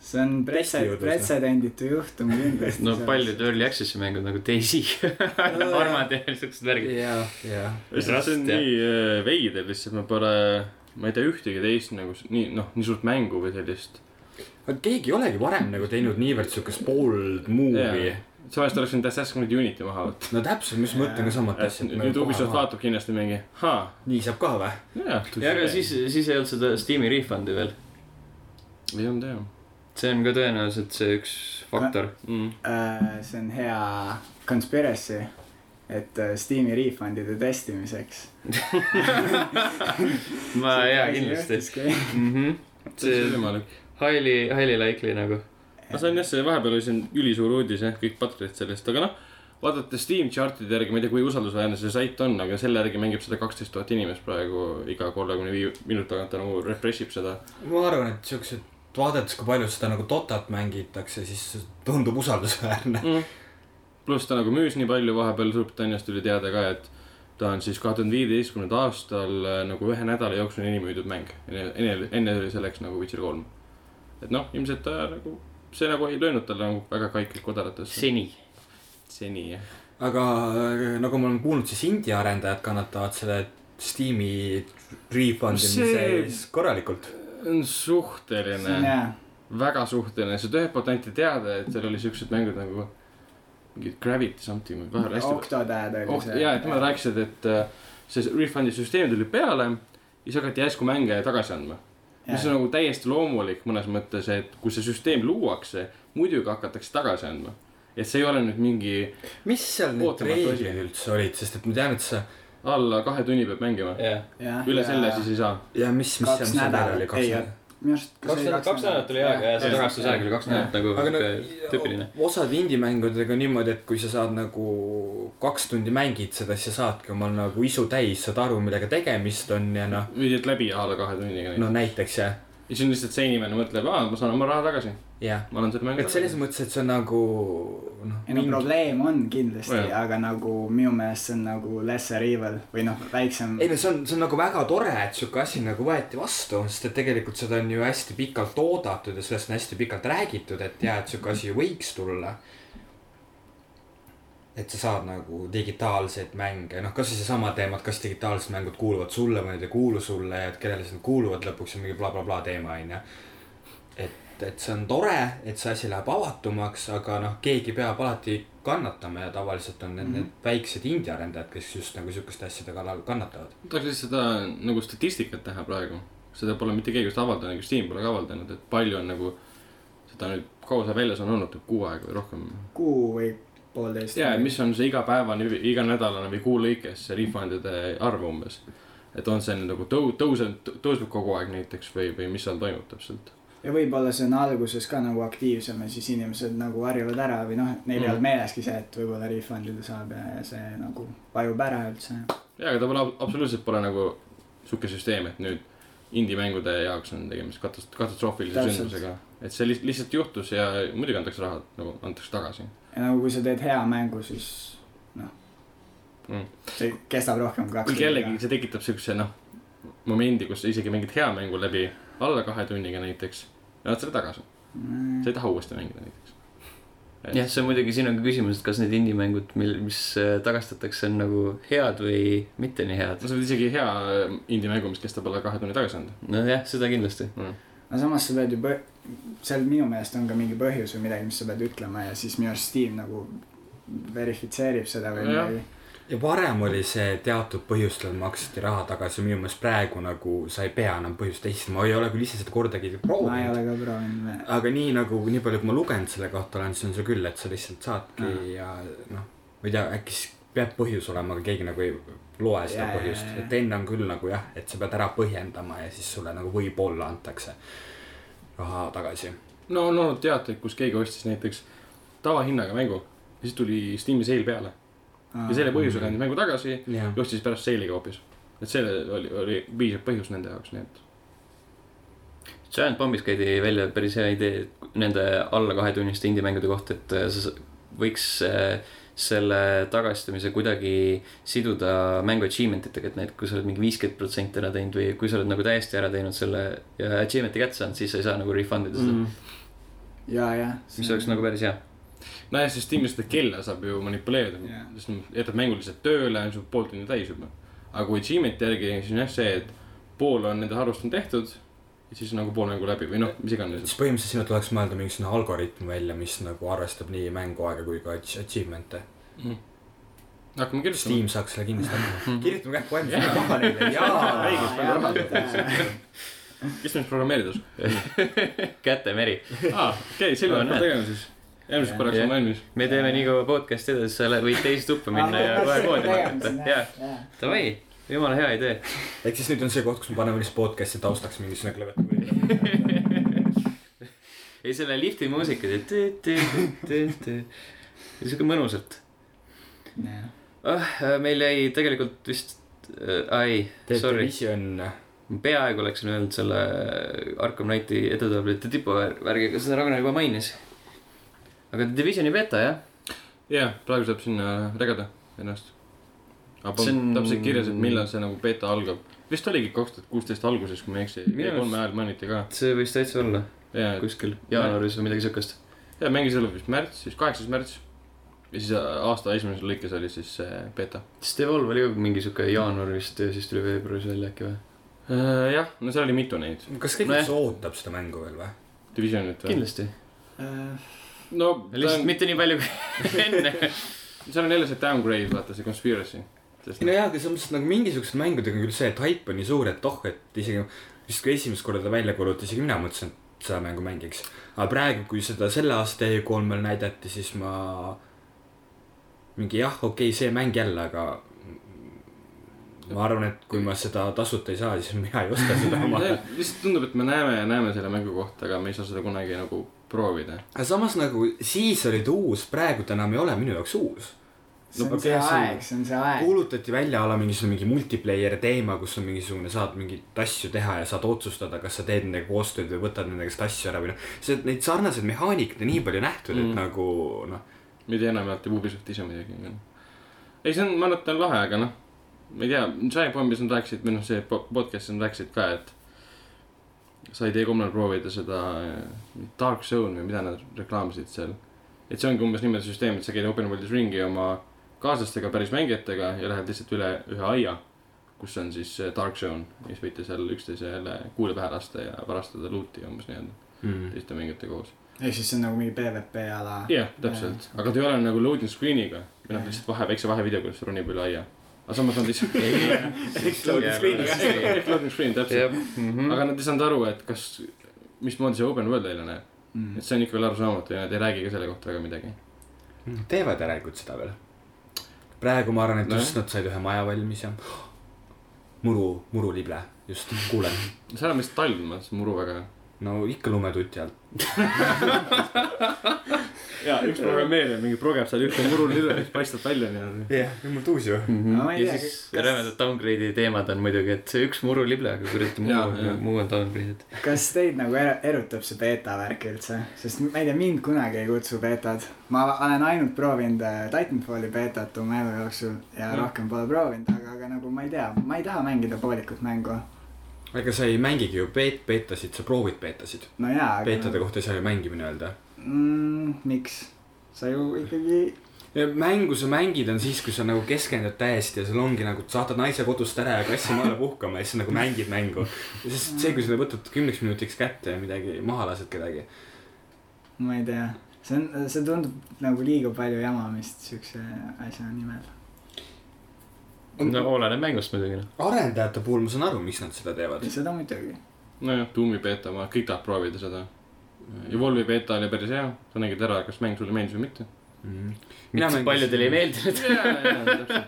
see on
Testi
pretse-
juurde seda.
pretsedenditu juhtum kindlasti .
no paljud . early access'i mängud nagu Daisy , [laughs] Armad ja [laughs] siuksed värgid .
ja , ja
see on
Rust, jah.
nii äh, veider lihtsalt , ma pole , ma ei tea ühtegi teist nagu s- nii noh , nii suurt mängu või sellist .
aga keegi ei olegi varem nagu teinud niivõrd siukest bold movie
Jaa. samas ta oleks võinud Assassin's Creed Unity maha võtta .
no täpselt , mis ma ütlen ka samat
et
asja .
nüüd Ubisoft vaatab kindlasti mingi , haa ,
nii saab ka või ?
jah .
ja aga siis , siis ei olnud seda Steam'i refund'i veel .
ei olnud jah
see on ka tõenäoliselt see üks [laughs] faktor .
mm. .
Äh, see on hea conspiracy , et äh, Steam'i refund'ide testimiseks .
ma , jaa , kindlasti . mhmh .
see on
Mhm. see
võimalik .
highly , highly likely nagu .
no see on jah , see vahepeal oli siin ülisuur uudis jah , kõik patrid sellest , aga noh , vaadata Steam chartide järgi , ma ei tea , kui usaldusväärne see sait on , aga selle järgi mängib seda kaksteist tuhat inimest praegu iga kolmekümne viie minuti tagant ta nagu refresh ib seda .
ma arvan , et siuksed , vaadates , kui palju seda nagu Dotat mängitakse , siis tundub usaldusväärne .
pluss ta nagu müüs nii palju vahepeal Suurbritannias tuli teada ka , et ta on siis kahe tuhande viieteistkümnendal aastal äh, nagu ühe nädala jooksul enim müüdud mäng . enne , enne , enne oli selleks nagu Witcher kolm . et noh , ilmselt ta nagu , see nagu ei löönud talle nagu väga kaikalt kodaratesse .
seni .
seni jah .
aga äh, nagu me oleme kuulnud , siis indie arendajad kannatavad selle Steam'i refund
See-
imise ees korralikult .
on äh, suhteline .
see on hea ,
väga suhteline , sest ühelt poolt anti teada , et seal oli siuksed mängud nagu mingid Gravity something või vahel hästi .
Octodad oli
oht ja , et nemad rääkisid , et äh, see refund'i süsteem tuli peale ja siis hakati järsku mänge tagasi andma . mis on
Jaa.
nagu täiesti loomulik mõnes mõttes , et kui see süsteem luuakse , muidugi hakatakse tagasi andma . et see ei ole nüüd mingi
mis seal need
Ootamatu asi.
reeglid üldse olid , sest et ma tean , et sa
alla kahe tunni peab mängima ,
jah .
Jah,
üle
ja-
selle siis ei saa .
ja mis , mis
Kaks
seal , mis seal
nädalat.
veel oli ,
Ei,
kaks nädalat .
minu arust .
kaks nädalat , kaks nädalat oli aega ja see tagastusaeg oli kaks nädalat nagu
aga
sihuke tüüpiline .
no osad indie-mängudega on niimoodi , et kui sa saad nagu kaks tundi mängid seda , siis sa saadki omal nagu isu täis , saad aru , millega tegemist on ja noh ,
müüdi läbi alla kahe tunniga
no
no. .
näiteks jah ,
ja siis on lihtsalt see inimene mõtleb , aa , ma saan oma raha tagasi ,
jah .
ma annan selle mängu
et selles
tagasi .
mõttes , et see on nagu noh ,
ei no probleem on kindlasti
Jah. ,
aga nagu minu meelest see on nagu lesser evil või noh , väiksem .
ei no see on , see on nagu väga tore , et sihuke asi nagu võeti vastu , sest et tegelikult seda on ju hästi pikalt oodatud ja sellest on hästi pikalt räägitud , et jaa , et sihuke asi võiks tulla . et sa saad nagu digitaalseid mänge , noh kasvõi seesama teema , et kas digitaalsed mängud kuuluvad sulle või nad ei kuulu sulle ja et kellele siis nad kuuluvad lõpuks on mingi blablabla bla, bla teema onju . et , et see on tore , et see asi läheb avatumaks , aga noh , keegi peab alati kannatama ja tavaliselt on need, mm -hmm. need väiksed indie arendajad , kes just nagu sihukeste asjade kallal kannatavad .
ma tahaks lihtsalt seda nagu statistikat näha praegu , seda pole mitte keegi vist avaldanud , ega Steam pole ka avaldanud , et palju on nagu seda nüüd , kaua see väljas on olnud , kuu aega või rohkem .
kuu või poolteist .
ja , et mis on see igapäevane , iganädalane või kuu lõikes see refund'ide arv umbes . et on see nüüd nagu tõu- , tõuseb , tõuseb kogu aeg näiteks või , või mis seal toimub täpselt .
ja võib-olla see on alguses ka nagu aktiivsem ja siis inimesed nagu harjuvad ära või noh , neil ei
Mhm.
olnud meeleski see , et võib-olla refund ida saab ja ja see nagu vajub ära üldse .
ja , aga ta pole ab- absoluutselt pole nagu sihuke süsteem , et nüüd indie-mängude jaoks on tegemist katast- , katastroofilise
Täpselt.
sündmusega . et see li- lihtsalt juhtus ja muidugi antakse raha nagu antakse tagasi .
ja nagu kui sa teed hea mängu , siis noh
Mhm.
see kestab rohkem kui kaks
kuigi jällegi . see tekitab siukse noh , momendi , kus sa isegi mängid hea mängu läbi alla kahe tunniga näiteks ja annad selle tagasi ,
Mm.
sa ei taha uuesti mängida näiteks .
jah , see on muidugi , siin on ka küsimus , et kas need indie-mängud , mil , mis äh, tagastatakse , on nagu head või mitte nii head .
sa võid isegi hea äh, indie mängu , mis kestab alla kahe tunni tagasi anda .
nojah , seda kindlasti .
no samas sa pead ju põ- , seal minu meelest on ka mingi põhjus või midagi , mis sa pead ütlema ja siis minu arust Steam nagu verifitseerib seda või
Jah.
midagi .
ja varem oli see teatud põhjustel maksti raha tagasi, minu meelest praegu nagu sa ei pea enam põhjust teistma, ma ei ole küll ise seda kordagi
ma ei
proovinud .
ole ka proovinud .
aga nii nagu nii palju , kui ma lugenud selle kohta olen , siis on see küll , et sa lihtsalt saadki ja, ja noh , ma ei tea , äkki siis peab põhjus olema , aga keegi nagu ei loe seda
Jaa,
ja,
jaa,
põhjust
jaa, , jaa.
et enne on küll nagu jah , et sa pead ära põhjendama ja siis sulle nagu võib-olla antakse raha tagasi .
no on olnud teateid , kus keegi ostis näiteks tavahinnaga mängu ja siis tuli Steam'i seil peale ja selle põhjusel andis mängu tagasi
jah ,
ja ostis pärast seiliga hoopis . et see oli , oli piisav põhjus nende jaoks , nii et
Giant Bombis käidi välja päris hea idee nende alla kahetunniste indie-mängude kohta , et äh, sa s- võiks äh, selle tagastamise kuidagi siduda mängu achievement itega , et näiteks kui sa oled mingi viiskümmend protsenti ära teinud või kui sa oled nagu täiesti ära teinud selle ja achievement'i kätte saanud , siis sa ei saa nagu refund ida seda mm. ,
ja , jah .
mis oleks nagu päris hea .
nojah , sest Steamis seda kella saab ju manipuleerida
Jah.
yeah. , sest nad jätad mängu lihtsalt tööle , on sul pool tundi täis juba . aga kui achievement'i järgi , siis on jah see , et pool on nende arvust on tehtud ja siis on nagu pool mängu läbi või noh , mis iganes .
siis põhimõtteliselt sinna tuleks mõelda mingisugune algoritm välja , mis nagu arvestab nii mänguaega kui ka ach- achievement'e .
hakkame kirjutama .
Steam saaks selle kindlasti anda . kirjutame kähku valmis
Jaa.
raha neile , jaa .
Õigus, väga Steamis programmeerides .
[laughs] käte meri ,
aa , okei ,
No
Silver , mida
näed.
tegema siis ? järgmiseks
Jah.
korraks on valmis .
me teeme nii kaua podcast'i edasi , sa lähed- võid teise tuppa minna
[laughs]
ja kohe poodi hakata , jaa , davai , jumala hea idee .
ehk siis nüüd on see koht , kus me paneme lihtsalt podcast'i taustaks mingisugune klaviatuur .
ei , selle lifti muusika , sihuke mõnusalt . ah , meil jäi tegelikult vist äh, , ei ,
teete
sorry ,
vision ,
peaaegu oleksin öelnud selle Arkham Knighti edetablite tipuvärgiga , seda Ragnar juba mainis . aga The Divisioni beta jah ,
jah , praegu saab sinna regada ennast . aga
See
on
on-
täpselt kirjas , et millal see nagu beeta algab . vist oligi kaks tuhat kuusteist alguses , kui ma ei eksi .
Minu arust-
kolme ajal mainiti ka .
see võis täitsa olla
jaa , et
kuskil jaanuaris või midagi siukest .
ja mängis jälle vist märts , siis kaheksas märts . ja siis äh, aasta esimeses lõikes oli siis äh, see beeta .
siis Devolve oli ka mingi siuke jaanuar vist ja siis tuli veebruaris välja äkki või ?
Äh, jah , no seal oli mitu neid
kas keegi
Nojah.
üldse ootab seda mängu veel või ?
divisionit või ?
kindlasti ,
no
lihtsalt
lihtsalt mitte .
mitte nii palju kui [laughs] enne .
seal on jälle see downgrade , vaata see conspiracy . sest
no jaa , aga selles mõttes et nagu mingisuguste mängudega on küll see , et haip on nii suur , et oh , et isegi vist kui esimest korda ta välja kuulutati , isegi mina mõtlesin , et seda mängu mängiks . aga praegu , kui seda selle aasta E3-l näidati , siis ma mingi jah , okei okay, , see mäng jälle , aga ma arvan , et kui ma seda tasuta ei saa , siis mina ei osta seda
no,
omale .
noh, lihtsalt tundub , et me näeme ja näeme selle mängu kohta , aga me ei saa seda kunagi nagu proovida .
aga samas nagu siis oli ta uus , praegu ta enam ei ole minu jaoks uus .
see
No
on see
okei, see on-
aeg , see on see aeg .
kuulutati välja ala mingisugune mingi multiplayer teema , kus on mingisugune , saad mingeid asju teha ja saad otsustada , kas sa teed nendega koostööd või võtad nendega seda asju ära või noh . see , neid sarnaseid mehaanikaid on nii palju nähtud mm. ,
Mm.
et nagu noh ,
mitte enamjaolt ja Ubisoft ise muidugi . ei , see on , ma arvan , et ta on lahe , aga noh , ma ei tea , Giant Bombis nad rääkisid või noh , see po- podcast'is nad rääkisid ka , et said E3-l proovida seda äh, Dark Zone või mida nad reklaamisid seal . et see ongi umbes niimoodi süsteem , et sa käid open world'is ringi oma kaaslastega , päris mängijatega ja lähed lihtsalt üle ühe aia , kus on siis äh, Dark Zone ja siis võite seal üksteisele kuule pähe lasta ja varastada luuti umbes nii-öelda
mm.
teiste mängijate koos .
ehk siis see on nagu mingi PVP ala .
jah , täpselt , aga ta ei ole nagu loading screen'iga või noh ,
Jaa.
lihtsalt vahe , väikse vahevideoga , kus ronib üle aia . aga samas nad ei saa . [laughs] ehk loading screen , täpselt .
jah ,
aga nad ei saanud aru , et kas , mismoodi see open world välja näeb .
Mm.
et see on ikka veel arusaamatu ja nad ei räägi ka selle kohta väga midagi .
Mm, teevad järelikult seda veel . praegu ma arvan , et
Nojah.
just nad said ühe maja valmis ja muru , murulible , just , kuulen .
seal on vist talv , ma mõtlesin muru väga .
no ikka lumetuti alt .
jaa , üks programmeerija mingi progeb seal ühte muru lille , mis paistab välja nagu. nii-öelda .
jah yeah, , mul tuus ju .
Mhm.
No ma ei
ja
tea,
siis
kas-
rämedad downgrade'i teemad on muidugi , et see üks muru lible , aga kurat
Jaa, jaa.
muu , muu on downgrade'id .
kas teid nagu er- erutab see beeta värk üldse , sest ma ei tea , mind kunagi ei kutsu beetad . ma olen ainult proovinud äh, Titanfalli beetat oma elu jooksul ja
Mm.
mm. rohkem pole proovinud , aga , aga nagu ma ei tea , ma ei taha mängida poolikut mängu .
ega sa ei mängigi ju beet- , beetasid , sa proovid beetasid .
no jaa , aga .
beetade kohta ei saa ju mängimine öelda .
mm, . miks ? sa ju ikkagi ,
Ja mängu sa mängid , on siis , kui sa nagu keskendud täiesti ja sul ongi nagu , saadad naise kodust ära ja kassi maale puhkama ja siis sa nagu mängid mängu . sest see , kui sa võtad kümneks minutiks kätte ja midagi maha lased kedagi .
ma ei tea , see on , see tundub nagu liiga palju jamamist siukse asja nimel .
no oleneb mängust muidugi noh .
arendajate puhul ma saan aru , miks nad seda teevad .
seda muidugi .
nojah , Doomi beeta , ma kõik tahab proovida seda . Evolve'i beeta oli päris hea , sa nägid ära , kas mäng sulle meeldis või [laughs] mitte .
Mhm. mina mängisin ,
paljudele ei meeldinud .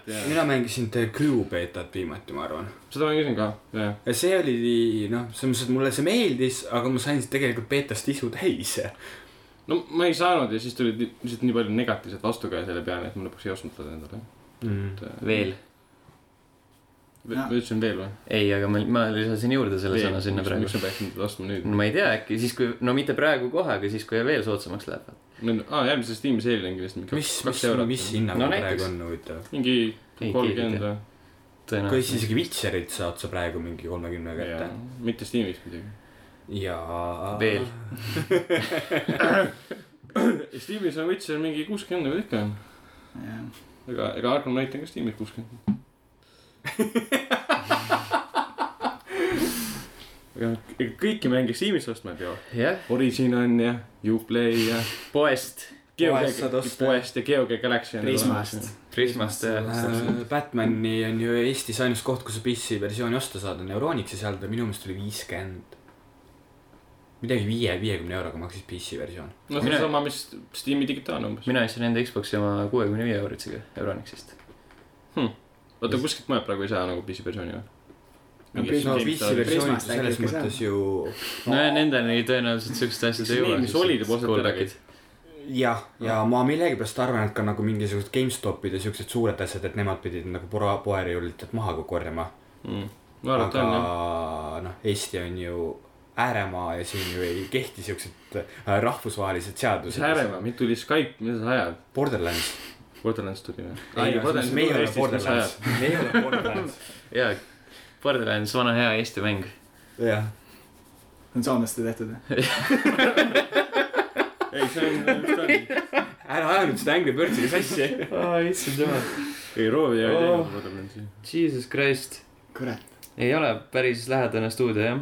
mina
mina mängisin The Crew beetat viimati , ma arvan .
seda mängisin ka , jah .
ja see oli noh , selles mõttes , et mulle see meeldis , aga ma sain tegelikult beetast isu täis .
no ma ei saanud ja siis tuli li- lihtsalt nii palju negatiivset vastukaja selle peale , et ma lõpuks ei ostnud seda endale . Mhm.
veel .
ma ütlesin veel või ?
ei , aga ma , ma lisasin juurde selle sõna sinna praegu
miks . ma peaksin teda ostma nüüd ?
no ma ei tea , äkki siis , kui , no mitte praegu kohe , aga siis , kui veel soodsamaks läheb .
meil on , aa järgmises tiimis eelmine kindlasti mingi
mis , mis , mis
No
hinnaga no, praegu
näiteks.
on huvitav ?
mingi
Ei,
kolmkümmend või ?
kas isegi Witcherit saad sa praegu mingi kolmekümne kätte ?
mitte Steamis
[coughs]
muidugi .
jaa .
Veel. .
Steamis on Witcher mingi kuuskümmend nagu ta ikka on . ega , ega Arkham Knight on ka Steamis
[laughs]
kuuskümmend . ega ega kõiki mänge Steamis ostma ei pea .
jah ,
Origin on ja Uplay ja .
poest ,
Poest saad osta.
poest ja Geoge Galaxy on . nagu-
Prismast .
nagu- Prismast ja .
Äh, Batman'i on ju Eestis ainus koht , kus sa PC versiooni osta saad , on Euronix ja seal ta minu meelest oli viiskümmend . midagi viie , viiekümne euroga maksis PC versioon .
no see
Mina-
on sama , mis Steam'i digitaalne umbes .
mina ostsin enda Xbox'i oma kuuekümne viie euritsega Euronixist .
oota , kuskilt mujalt praegu ei saa nagu PC versiooni või ?
No
Mingi
PC-
no
Steam
PC
Store-
versioonid
Prismast äkki
selles
ikka saab.
mõttes ju .
no ja nendeni tõenäoliselt siukeste asjade ei
Mis
jõua .
nimi see oli, te poolsite
callback'id .
jah , ja ma millegipärast arvan , et ka nagu mingisugused GameStopid ja siuksed suured asjad , et nemad pidid nagu pora- , poerijuulitajad maha ka korjama .
mm. . ma arvan , et
aga
on jah .
noh , Eesti on ju ääremaa ja siin ju ei kehti siuksed äh, rahvusvahelised
mis
seadused .
ääremaa , meil tuli Skype , mida sa ajad ?
Borderlands .
Borderlands tuli või ?
ei , me ei ole Borderlands . me ei ole Borderlands .
jaa , Borderlands , vana hea Eesti mäng .
jah ,
on soomlaste tehtud või ?
ei , see on , mis ta on ?
ära aja nüüd seda Angry Birdsiga sassi .
issand jumal .
ei , Roovi ei nagu ole
Oh.
Borderlandsi .
Jesus Christ .
kurat .
ei ole päris lähedane stuudio , jah .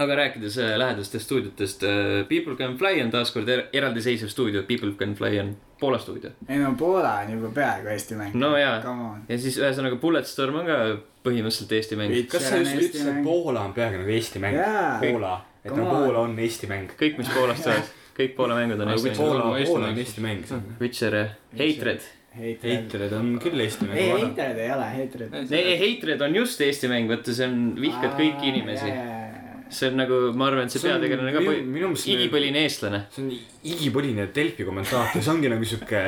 aga rääkides äh, lähedastest stuudiotest , People Can Fly on taaskord er eraldiseisev stuudio , People Can Fly on Poola stuudio .
ei no Poola on juba peaaegu Eesti mäng .
No jaa.
Come on .
ja siis ühesõnaga Bulletstorm on ka põhimõtteliselt Eesti mäng .
kas sa just ütlesid , et Poola on peaaegu nagu Eesti mäng ?
jaa .
Poola , et no
Come on.
Poola on Eesti mäng .
kõik , mis Poolast tulevad , kõik Poola mängud on
Aga
Eesti
kui
mängud .
Poola-
Poola ,
Eesti
Poola on
mäng.
Eesti mäng .
Witcher ja Hatred .
heitred .
Heitred on küll Eesti
ei ,
mäng .
heitred ei ole , heitred .
ei , Hatred on just Eesti mäng , vaata , see on , vihkad kõiki inimesi . see on nagu , ma arvan , et see
See on
peategelane ka
minu-
põhi-
minu meelest-
igipõline
[laughs]
eestlane .
see on igipõline Delfi kommentaator , see ongi nagu sihuke ,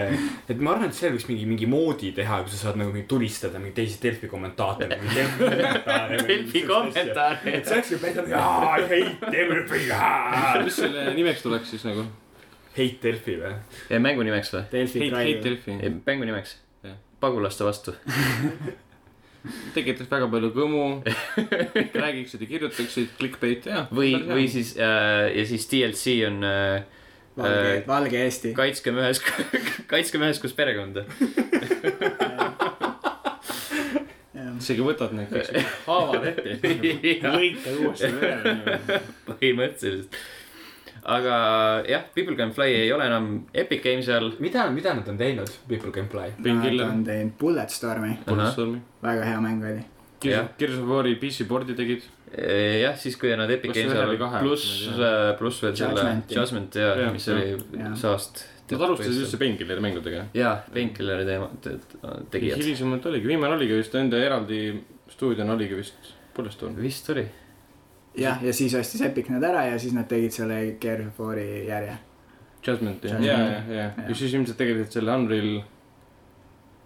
et ma arvan , et seal võiks mingi , mingi moodi teha , kus sa saad nagu mingi tulistada mingeid teisi Delfi kommentaatoreid . [laughs]
Delfi . kommentaare .
et see oleks ju päris , I hate everything .
mis selle nimeks tuleks siis nagu ?
Hate Delfi või ?
mängu nimeks või ?
Delfi
Hate , Hate
Drive .
Delfi .
ei , mängu nimeks
Jah. .
pagulaste vastu .
tekitaks väga palju kõmu . [laughs] räägiksid ja kirjutaksid , clickbait ja .
või , või . siis äh, ja siis DLC on äh,
valge , valge Eesti . [laughs]
kaitskem ühes , [laughs] kaitskem ühes koos perekonda .
isegi võtad need kõik [laughs] haavad ette .
lõika
uuesti [laughs] üle .
põhimõtteliselt . aga jah , People Can Fly ei ole enam Epic Games'i all .
mida , mida nad on teinud , People Can Fly ?
Pingil
Nad on teinud Bulletstormi ,
Bulletstormi .
väga hea mäng oli .
Jah.
Gears of War'i PC board'i tegid .
Äh, jah , siis kui nad Epic
Kas see
Games'i
ühe
all
või , kahe?
pluss äh,
Ma ,
pluss veel selle
Judgmenti.
Judgment ja
Jah,
mis
jah.
oli
Jah.
saast .
Nad alustasid üldse Pingile mängudega .
jaa , Painkilleri teema , tegijad .
hilisemalt oligi , viimane oligi vist nende eraldi stuudiona oligi vist Bulletstorm .
vist oli .
jah , ja siis ostis Epic nad ära ja siis nad tegid selle Gears of War'i järje .
Judgment jah ,
Judgment.
ja , ja , ja ,
Jah.
ja siis ilmselt tegelikult selle Unreal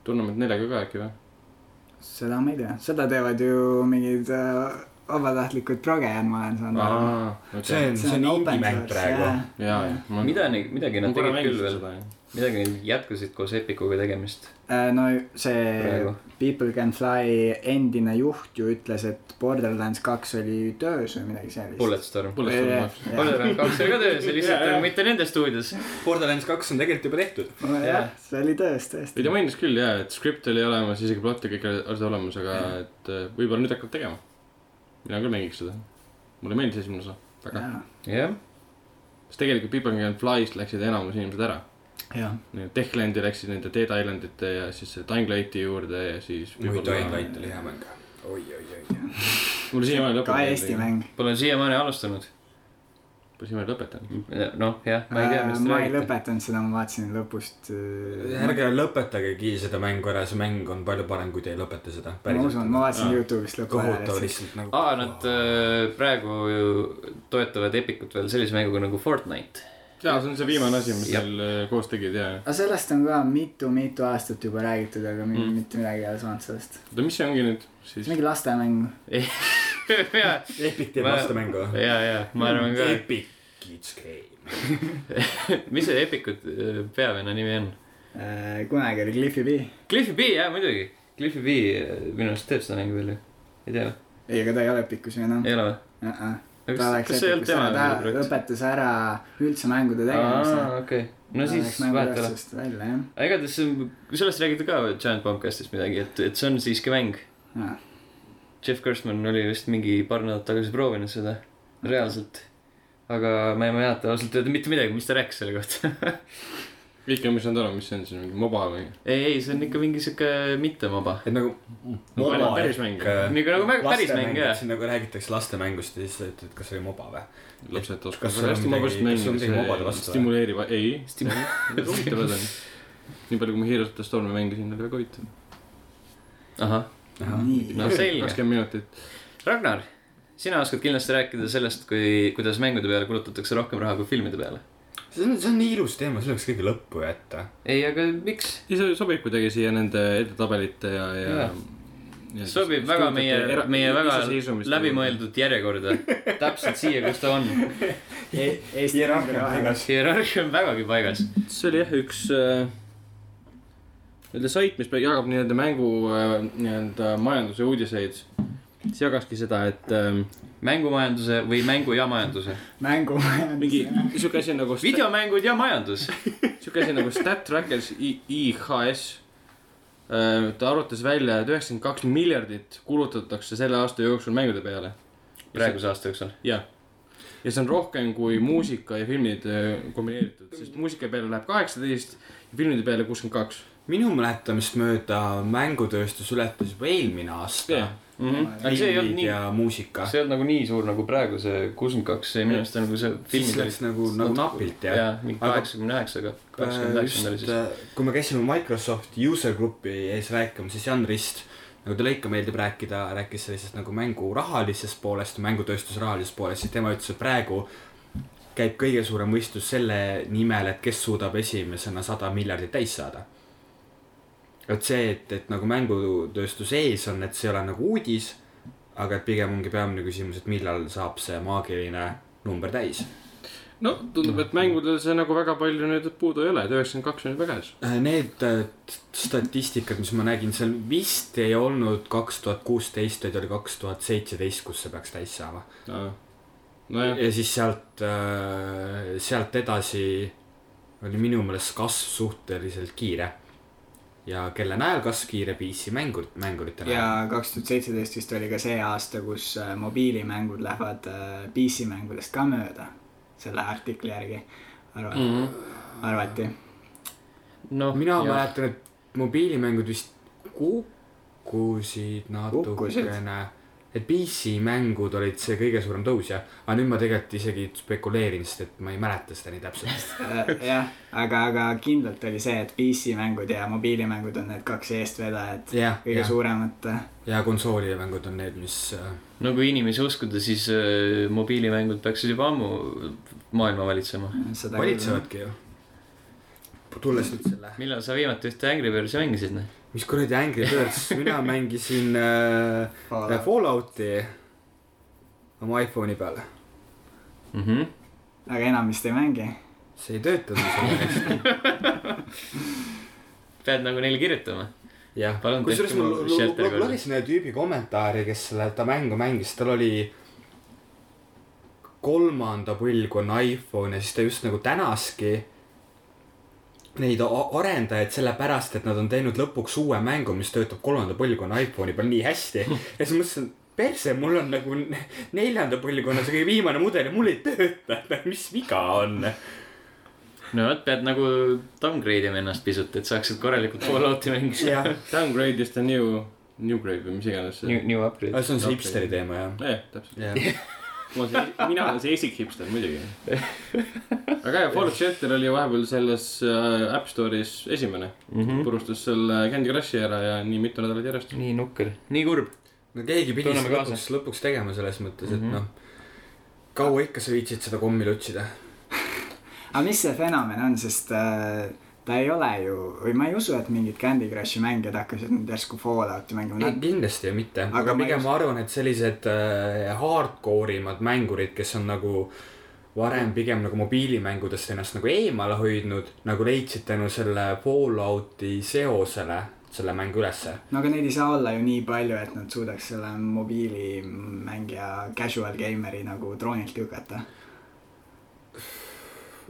Tournament neljaga ka äkki või ?
seda ma ei tea , seda teevad ju mingid äh, vabatahtlikud progejad , ma olen saanud aru .
see on , see on indie-mäng praegu .
ja , ja .
mida , midagi nad tegid küll veel ,. midagi nad jätkusid koos Epicuga tegemist
Äh, no see
praegu .
People Can Fly endine juht ju ütles , et Borderlands kaks oli töös või midagi sellist .
Bulletstorm .
Bulletstorm
Jah,
kaks .
jah.
Borderlands kaks oli ka töös , lihtsalt
Jaa,
nagu
jaa.
mitte nende stuudios .
Borderlands kaks on tegelikult juba tehtud .
jah , see oli töös
ei ,
tõesti
ta . mainis küll jaa , et skript oli olemas , isegi plott ja kõik asjad olemas , aga
Mhm.
et eh, võib-olla nüüd hakkab tegema . mina küll mängiks seda . mulle meeldis esimene osa väga .
jaa ,
jah ,
sest tegelikult People Can Fly'st läksid enamus inimesed ära .
jah ,
Techlandi läksid nende Dead Islandite ja siis see Dying Lighti juurde ja siis .
muid Dying Light oli hea mäng . oi , oi , oi .
mul siiamaani
ka
lõpetanud
Eesti . mäng .
Pole siiamaani alustanud .
mul siiamaani lõpetanud .
noh , jah , ma ei tea , mis te
Äh, ma ei
räägite .
lõpetanud seda , ma vaatasin lõpust . äh, ma
ärge lõpetagegi seda mängu ära , see mäng on palju parem , kui te ei lõpeta seda .
usun , ma vaatasin
Aa.
Youtube'ist lõpu
kohutav
ära .
lihtsalt nagu .
aa , nad äh, praegu ju toetavad Epicut veel sellise mänguga nagu
[laughs]
Fortnite .
jaa , see on see viimane asi , mis
Jah.
seal äh, koos tegid ja .
aga sellest on ka mitu-mitu aastat juba räägitud , aga mi-
Mm.
mitte midagi ei ole saanud sellest .
oota , mis see ongi nüüd siis ?
mingi lastemäng .
ja ,
Epic teeb
äh, Ma-
vastamängu .
ja , ja ma arvan ka ,
Epic Kids Game .
[laughs]
mis see Epicut äh, peavenna nimi on ?
äh, kunagi oli Cliffi B .
Cliffy B , jah , muidugi . Cliffy B äh, minu arust teeb seda mängu veel ju . ei tea ,
ei , aga ta ei ole Epikus ju enam .
ei ole või ?
ta
kas ,
läks
kas see ei olnud
Epikus ära ,
tema
ta
projekt ?
lõpetas ära üldse mängude tegemise .
aa , okei . no siis vahet ei ole .
vahetame . välja
aga igatahes see- sellest räägiti ka Giant Bombcastis midagi , et , et see on siiski mäng .
jah .
Jeff Gerstmann oli vist mingi paar nädalat tagasi proovinud seda , reaalselt . aga ma ei mäleta ausalt öelda mitte midagi , mis ta rääkis selle kohta . [laughs]
ikka , mis nad on , mis see on siis , mingi moba või ?
ei , ei , see on ikka mingi sihuke mittemaba .
et nagu .
päris- päris mäng.
äh,
Nagu- nagu mäng- päris mäng, jah.
siin nagu räägitakse lastemängust ja siis sa ütled , kas see oli moba või ?
lapsed
Kas
oskavad
sul on
väga hästi mobast
midagi- kas sul on midagi mobade
mängida ,
vastu
see
või?
stimuleerib , ei ,
Stimu-
huvitavad on . nii palju , kui ma Heroes of the Stormi mängisin , oli väga huvitav .
ahah ,
nii ,
no selge .
kakskümmend minutit .
Ragnar , sina oskad kindlasti rääkida sellest , kui , kuidas mängude peale kulutatakse rohkem raha kui filmide peale .
see on , see on nii ilus teema , selle võiks kõige lõppu jätta .
ei , aga miks ?
ei , see sobib kuidagi siia nende edetabelite ja , ja
Jaa. . sobib väga meie , meie väga
nagu-
läbimõeldud järjekorda . täpselt siia , kus ta on .
E- Eesti
hierarhia on paigas.
hierarhia on vägagi paigas .
see oli jah , üks äh, nii-öelda sait , mis jagab nii-öelda mängu äh, nii-öelda majanduse uudiseid . siis jagaski seda , et ähm,
mängumajanduse või mängu ja majanduse .
mängu .
mingi sihuke asi nagu .
videomängud ja majandus .
siuke asi nagu StatTrackers I- IHS . ta arvutas välja , et üheksakümmend kaks miljardit kulutatakse selle aasta jooksul mängude peale .
praeguse aasta jooksul .
jah . ja see on rohkem kui muusika ja filmid äh, kombineeritud , sest muusika peale läheb kaheksateist ja filmide peale kuuskümmend kaks .
minu mäletamist mööda mängutööstus ületas juba eelmine aasta
Jah. . Mhm.
aga see ei olnud
filmid
nii ,
ja muusika .
see ei olnud nagu nii suur nagu praegu see kuuskümmend kaks , see minu arust on nagu see
siis
filmid
läks nagu , nagu napilt jah
jaa , mingi
Aga-
kaheksakümne üheksaga , kaheksakümmend üheksanda oli
Äh, just
siis .,
kui me käisime Microsofti user grupi ees rääkimas , siis Jan Rist , nagu talle ikka meeldib rääkida , rääkis sellisest nagu mängu rahalisest poolest , mängutööstuse rahalisest poolest , siis tema ütles , et praegu käib kõige suurem võistlus selle nimel , et kes suudab esimesena sada miljardit täis saada . et see , et , et nagu mängutööstus ees on , et see ei ole nagu uudis , aga et pigem ongi peamine küsimus , et millal saab see maagiline number täis .
no tundub , et mängudel see nagu väga palju nüüd puudu ei ole , et üheksakümmend kaks on juba käes .
Need äh, t- statistikad , mis ma nägin , seal vist ei olnud kaks tuhat kuusteist , vaid oli kaks tuhat seitseteist , kus see peaks täis saama .
nojah ,
ja siis sealt , sealt edasi oli minu meelest kasv suhteliselt kiire . ja kelle najal kasv kiire , PC mängur , mängurite
ja
najal .
kaks tuhat seitseteist vist oli ka see aasta , kus äh, mobiilimängud lähevad äh, PC mängudest ka mööda . selle artikli järgi arvati mm ,
Mhm.
-hmm. arvati .
noh ,
mina mäletan , et mobiilimängud vist kukkusid
Kukkusid?
natukene . et PC mängud olid see kõige suurem tõus jah , aga nüüd ma tegelikult isegi spekuleerin , sest et ma ei mäleta seda nii täpselt .
[laughs] Äh, jah , aga , aga kindlalt oli see , et PC mängud ja mobiilimängud on need kaks eestvedajat ,
jah ,
kõige
ja ,
suuremat . äh,
ja konsoolimängud on need , mis äh,
no kui Nagu inimesi uskuda , siis äh, mobiilimängud peaksid juba ammu maailma valitsema .
valitsevadki ju . tulles nüüd selle ,
millal sa viimati ühte Angry Birdsi mängisid , noh ?
mis kuradi Angry Birds , [laughs] mina mängisin äh,
aga
Fallouti oma iPhone'i peal .
Mhm.
enam vist ei mängi .
see ei [laughs] töötanud .
pead nagu neile kirjutama .
jah
Palun
kusjuures
tehke
ma
mu
lu- lu-
shelter
lu-
korda.
lugesin ühe tüübi kommentaari , kes selle , ta mängu mängis , tal oli kolmanda põlvkonna iPhone ja siis ta just nagu tänaski neid a- arendajaid sellepärast , et nad on teinud lõpuks uue mängu , mis töötab kolmanda põlvkonna iPhone'i peal nii
[laughs]
hästi . ja siis ma mõtlesin , perse , mul on nagu ne- [laughs] neljanda põlvkonna see kõige viimane mudel ja mul ei tööta , et mis viga on .
no vot , pead nagu downgrade ima ennast pisut , et saaksid korralikult Fallouti mängida .
jah ,
Downgrade is the new , new grade või mis iganes see .
New , new upgrade .
see on see hipsteri teema jah .
jah , täpselt .
jah ,
ma olen see , mina olen see esik hipster muidugi . aga jah , Fallout Shelter oli vahepeal selles äh, App Store'is esimene mm . -hmm. purustas selle Candy Crushi ära ja nii mitu nädalat järjest .
nii nukker , nii kurb .
no keegi pidi
Tunneme
seda
kaasa.
lõpuks , lõpuks tegema selles mõttes , et
Mhm.
noh , kaua ikka sa viitsid seda kommi lutsida ?
aga mis see fenomen on , sest äh, ta ei ole ju , või ma ei usu , et mingid Candy Crushi mängijad hakkasid nüüd järsku Fallouti mängima .
kindlasti mitte ,
Aga
aga
ma
pigem
just-
ma arvan , et sellised äh, hardcore imad mängurid , kes on nagu varem pigem nagu mobiilimängudest ennast nagu eemale hoidnud , nagu leidsid tänu selle Fallouti seosele selle mängu ülesse .
no aga neid ei saa olla ju nii palju , et nad suudaks selle mobiilimängija casual gamer'i nagu troonilt lükata .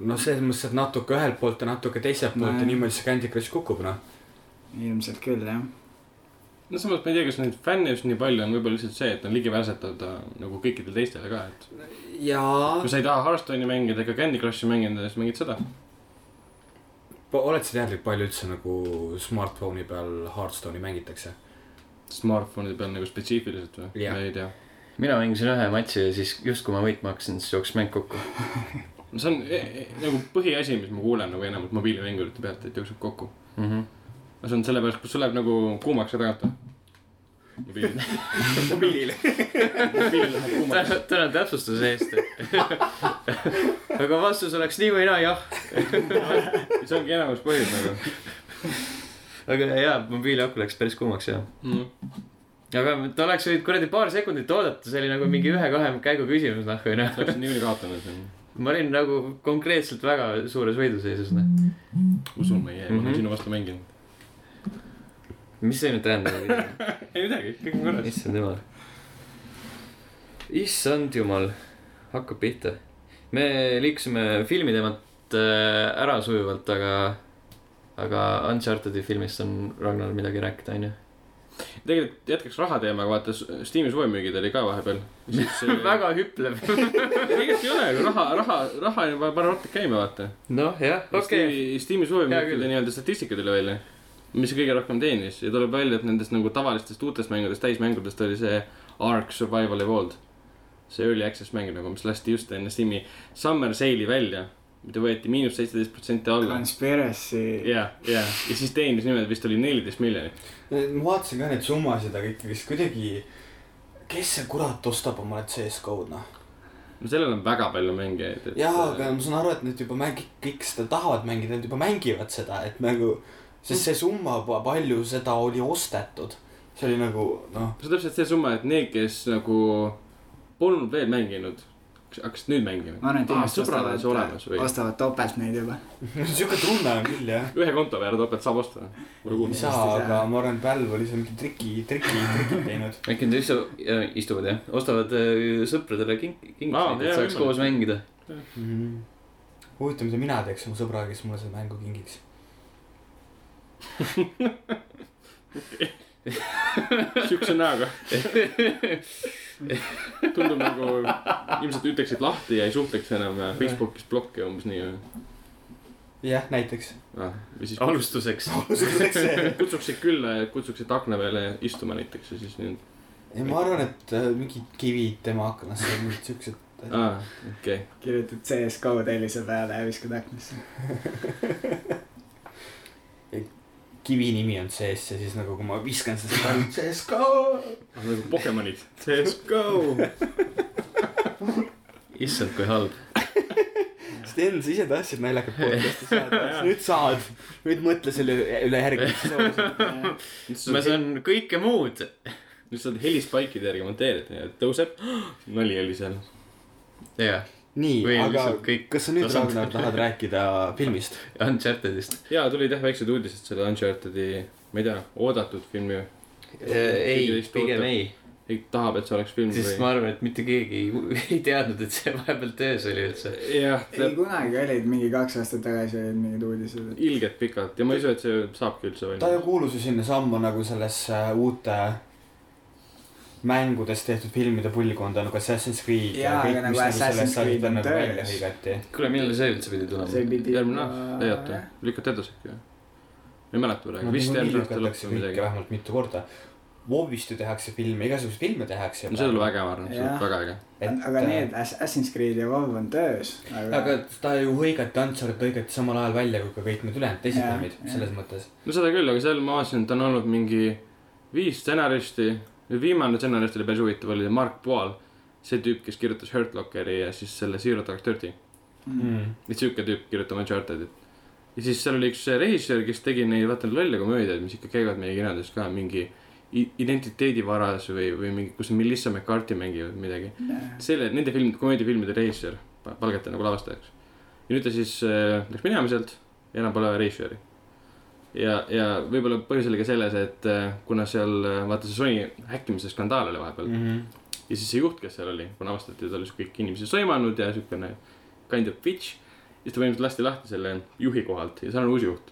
noh , selles mõttes , et natuke ühelt poolt ja natuke teiselt poolt ja
Nojah.
niimoodi see Candy Crush kukub , noh .
ilmselt küll jah .
no samas ma ei tea , kas neid fänne just nii palju on , võib-olla lihtsalt see , et on ligipääsetav ta nagu kõikidele teistele ka , et
jaa
kui sa ei taha Hearthstone'i mängida ega Candy Crushi mängida , siis mängid seda .
Pa- oled sa teadlik , palju üldse nagu smartphone'i peal Hearthstone'i mängitakse ?
Smartphone'ide peal nagu spetsiifiliselt või ?
Jah.
ma ei tea .
mina mängisin ühe matši ja siis just kui ma võitma hakkasin , siis jooksis mäng kokku .
no see on e e nagu põhiasi , mis ma kuulen nagu enamalt mobiilimängurite pealt , et jookseb kokku .
Mhm.
no see on sellepärast , kus sul läheb nagu kuumaks ja tagant . mobiil ,
mobiilil .
mobiil läheb kuumaks .
tänan täpsustuse eest . [laughs] aga vastus oleks nii või naa jah .
see ongi enamus põhjus nagu
aga jaa , mobiiliaku läks päris kuumaks jah .
mm. .
aga ta oleks võinud kuradi paar sekundit oodata , see oli nagu mingi ühe-kahe käigu küsimus noh , onju .
sa oled nii üle kaotanud siin .
ma olin nagu konkreetselt väga suures võiduseisus noh .
usun ma ei jää , ma
Mhm.
olen sinu vastu mänginud .
mis see nüüd tähendab ?
ei midagi , kõik on korras .
issand jumal . issand jumal , hakkab pihta . me liikusime filmi teemat äh, ära sujuvalt , aga , aga Uncharted'i filmist on Ragnar midagi rääkida , onju .
tegelikult jätkaks raha teemaga , vaata s- Steam'i suvemüügid oli ka [laughs] vahepeal .
väga hüplev .
tegelikult ei ole ju raha , raha , raha on juba paar aastat käima , vaata .
noh , jah , okei okay. .
Steam'i , Steam'i
Hea
suvemüügide
küll.
nii-öelda statistika tuli välja , mis kõige rohkem teenis ja tuleb välja , et nendest nagu tavalistest uutest mängudest , täismängudest oli see Ark Survival Evolved . see early access mäng nagu , mis lasti just enne Steam'i summer sale'i välja , mida võeti miinus seitseteist protsenti alla .
Conspiracy .
ja , ja , ja siis teenis niimoodi vist oli neliteist miljonit .
[laughs] ma vaatasin ka neid summasid , aga ikkagist kuidagi , kes see kurat ostab omale CS-code , noh .
no sellel on väga palju mängijaid , et . äh,
jaa , aga ma saan aru , et need juba mängi- , kõik seda tahavad mängida , nad juba mängivad seda , et nagu , sest see summa , palju seda oli ostetud , see oli nagu , noh . [laughs]
see on täpselt see summa , et need , kes nagu polnud veel mänginud , hakkasid nüüd mängima .
ma arvan , et inimesed
sõbrad on see Ah, olemas või ?
ostavad topelt neid juba .
sihuke tunne on küll , jah .
ühe konto peale topelt saab osta .
ei saa , aga ma arvan , et Valve oli seal mingi triki , triki , triki teinud .
äkki nad istu- , istuvad jah , ostavad äh, sõpradele kink- ,
Aa,
kinkiseid ,
jaa,
et saaks
võimalik.
koos mängida .
Mhm. huvitav , mida mina teeks oma sõbraga , kes mulle selle mängu kingiks .
siukse näoga . tundub nagu ilmselt ütleksid lahti ja ei suhtleks enam ja Facebookis blokki umbes nii või
jah , näiteks . [laughs]
ah, ? või siis
alustuseks .
[laughs] kutsuksid külla ja kutsuksid akna peale istuma näiteks ja siis nii .
ei , ma arvan , et äh, mingid kivid tema aknasse , mingid siuksed .
aa , okei okay. .
kirjutad CS GO tellise peale ja viskad
[laughs]
aknasse .
kivi nimi on sees ja siis nagu , kui ma viskan [laughs] seda , siis ta on sees ka .
nagu Pokemonid .
Let's go .
[laughs] issand , kui halb .
Sten , sa ise tahtsid naljakat podcast'i [laughs] saada , nüüd saad . nüüd mõtle selle üle järgmise soovise .
ma
nüüd
saan kõike muud .
saad helispike'ide järgi monteerida ja tõuseb . [gasps] nali oli seal .
jah ,
nii
Või ,
aga
lihtsalt kõik
kas sa nüüd ,
tasand-
[laughs] Ragnar , tahad rääkida filmist ?
Uncharted'ist .
ja tulid jah väiksed uudised selle Uncharted'i , ma ei tea , oodatud filmi .
Äh, ei , pigem ei .
ei tahab , et see oleks film
sest ma arvan , et mitte keegi ei, [laughs] ei teadnud , et see vahepeal töös oli üldse .
jah ,
ei , kunagi olid mingi kaks aastat tagasi olid mingid uudised .
ilgelt pikalt ja ma ei usu , et see saabki üldse
ta ju
valmis .
kuulus ju sinnasamma nagu sellesse uute mängudest äh, tehtud filmide põlvkonda nagu Assassin's Creed
Jaa,
kõik,
aga nagu
mis
Assassin's
sellest sarjast
Creed
on
on
nagu välja
töös.
hõigati .
kuule , millal see üldse pidi
see
tulema ?
pidi
järgmine aasta , ei oota , lükati edasi ikka ju . ei mäleta praegu , vist järgmine aasta lõpp või midagi .
vähemalt mitu korda . Vovist ju tehakse filme , igasuguseid filme tehakse .
no see tuleb äge , ma arvan , see
Jah.
tuleb väga äge .
aga need
äh,
Assassin's Creed ja WoW on töös , aga
aga ta ju hõigati , Uncharted hõigati samal ajal välja kui ka kõik need ülejäänud teised
Jaa,
filmid
jaa.
selles mõttes .
no seda küll , aga seal ma vaatasin , et on olnud mingi viis stsenaristi . viimane stsenarist oli päris huvitav , oli Mark Poal . see tüüp , kes kirjutas Hurt Lockeri ja siis selle Zero Dark Thirty .
Mm.
Mm,
et sihuke tüüp kirjutab Uncharted'it . ja siis seal oli üks režissöör , kes tegi neid , vaata neid lolle komöödiaid , mis ikka käivad meie kirjanduses ka , mingi i- identiteedivaras või , või mingi , kus Melissa McCarthy mängivad midagi . selle , nende filmide , komöödiafilmide režissöör , palgati nagu lavastajaks . ja nüüd ta siis äh, läks minema sealt ja enam pole režissööri . ja , ja võib-olla põhjus oli ka selles , et äh, kuna seal äh, vaata see Sony häkkimise skandaal oli vahepeal
mm,
ja siis see juht , kes seal oli , kuna avastati , et ta oli sihuke kõiki inimesi sõimanud ja siukene kind of bitch . siis ta põhimõtteliselt lasti lahti selle juhi kohalt ja seal on uus juht .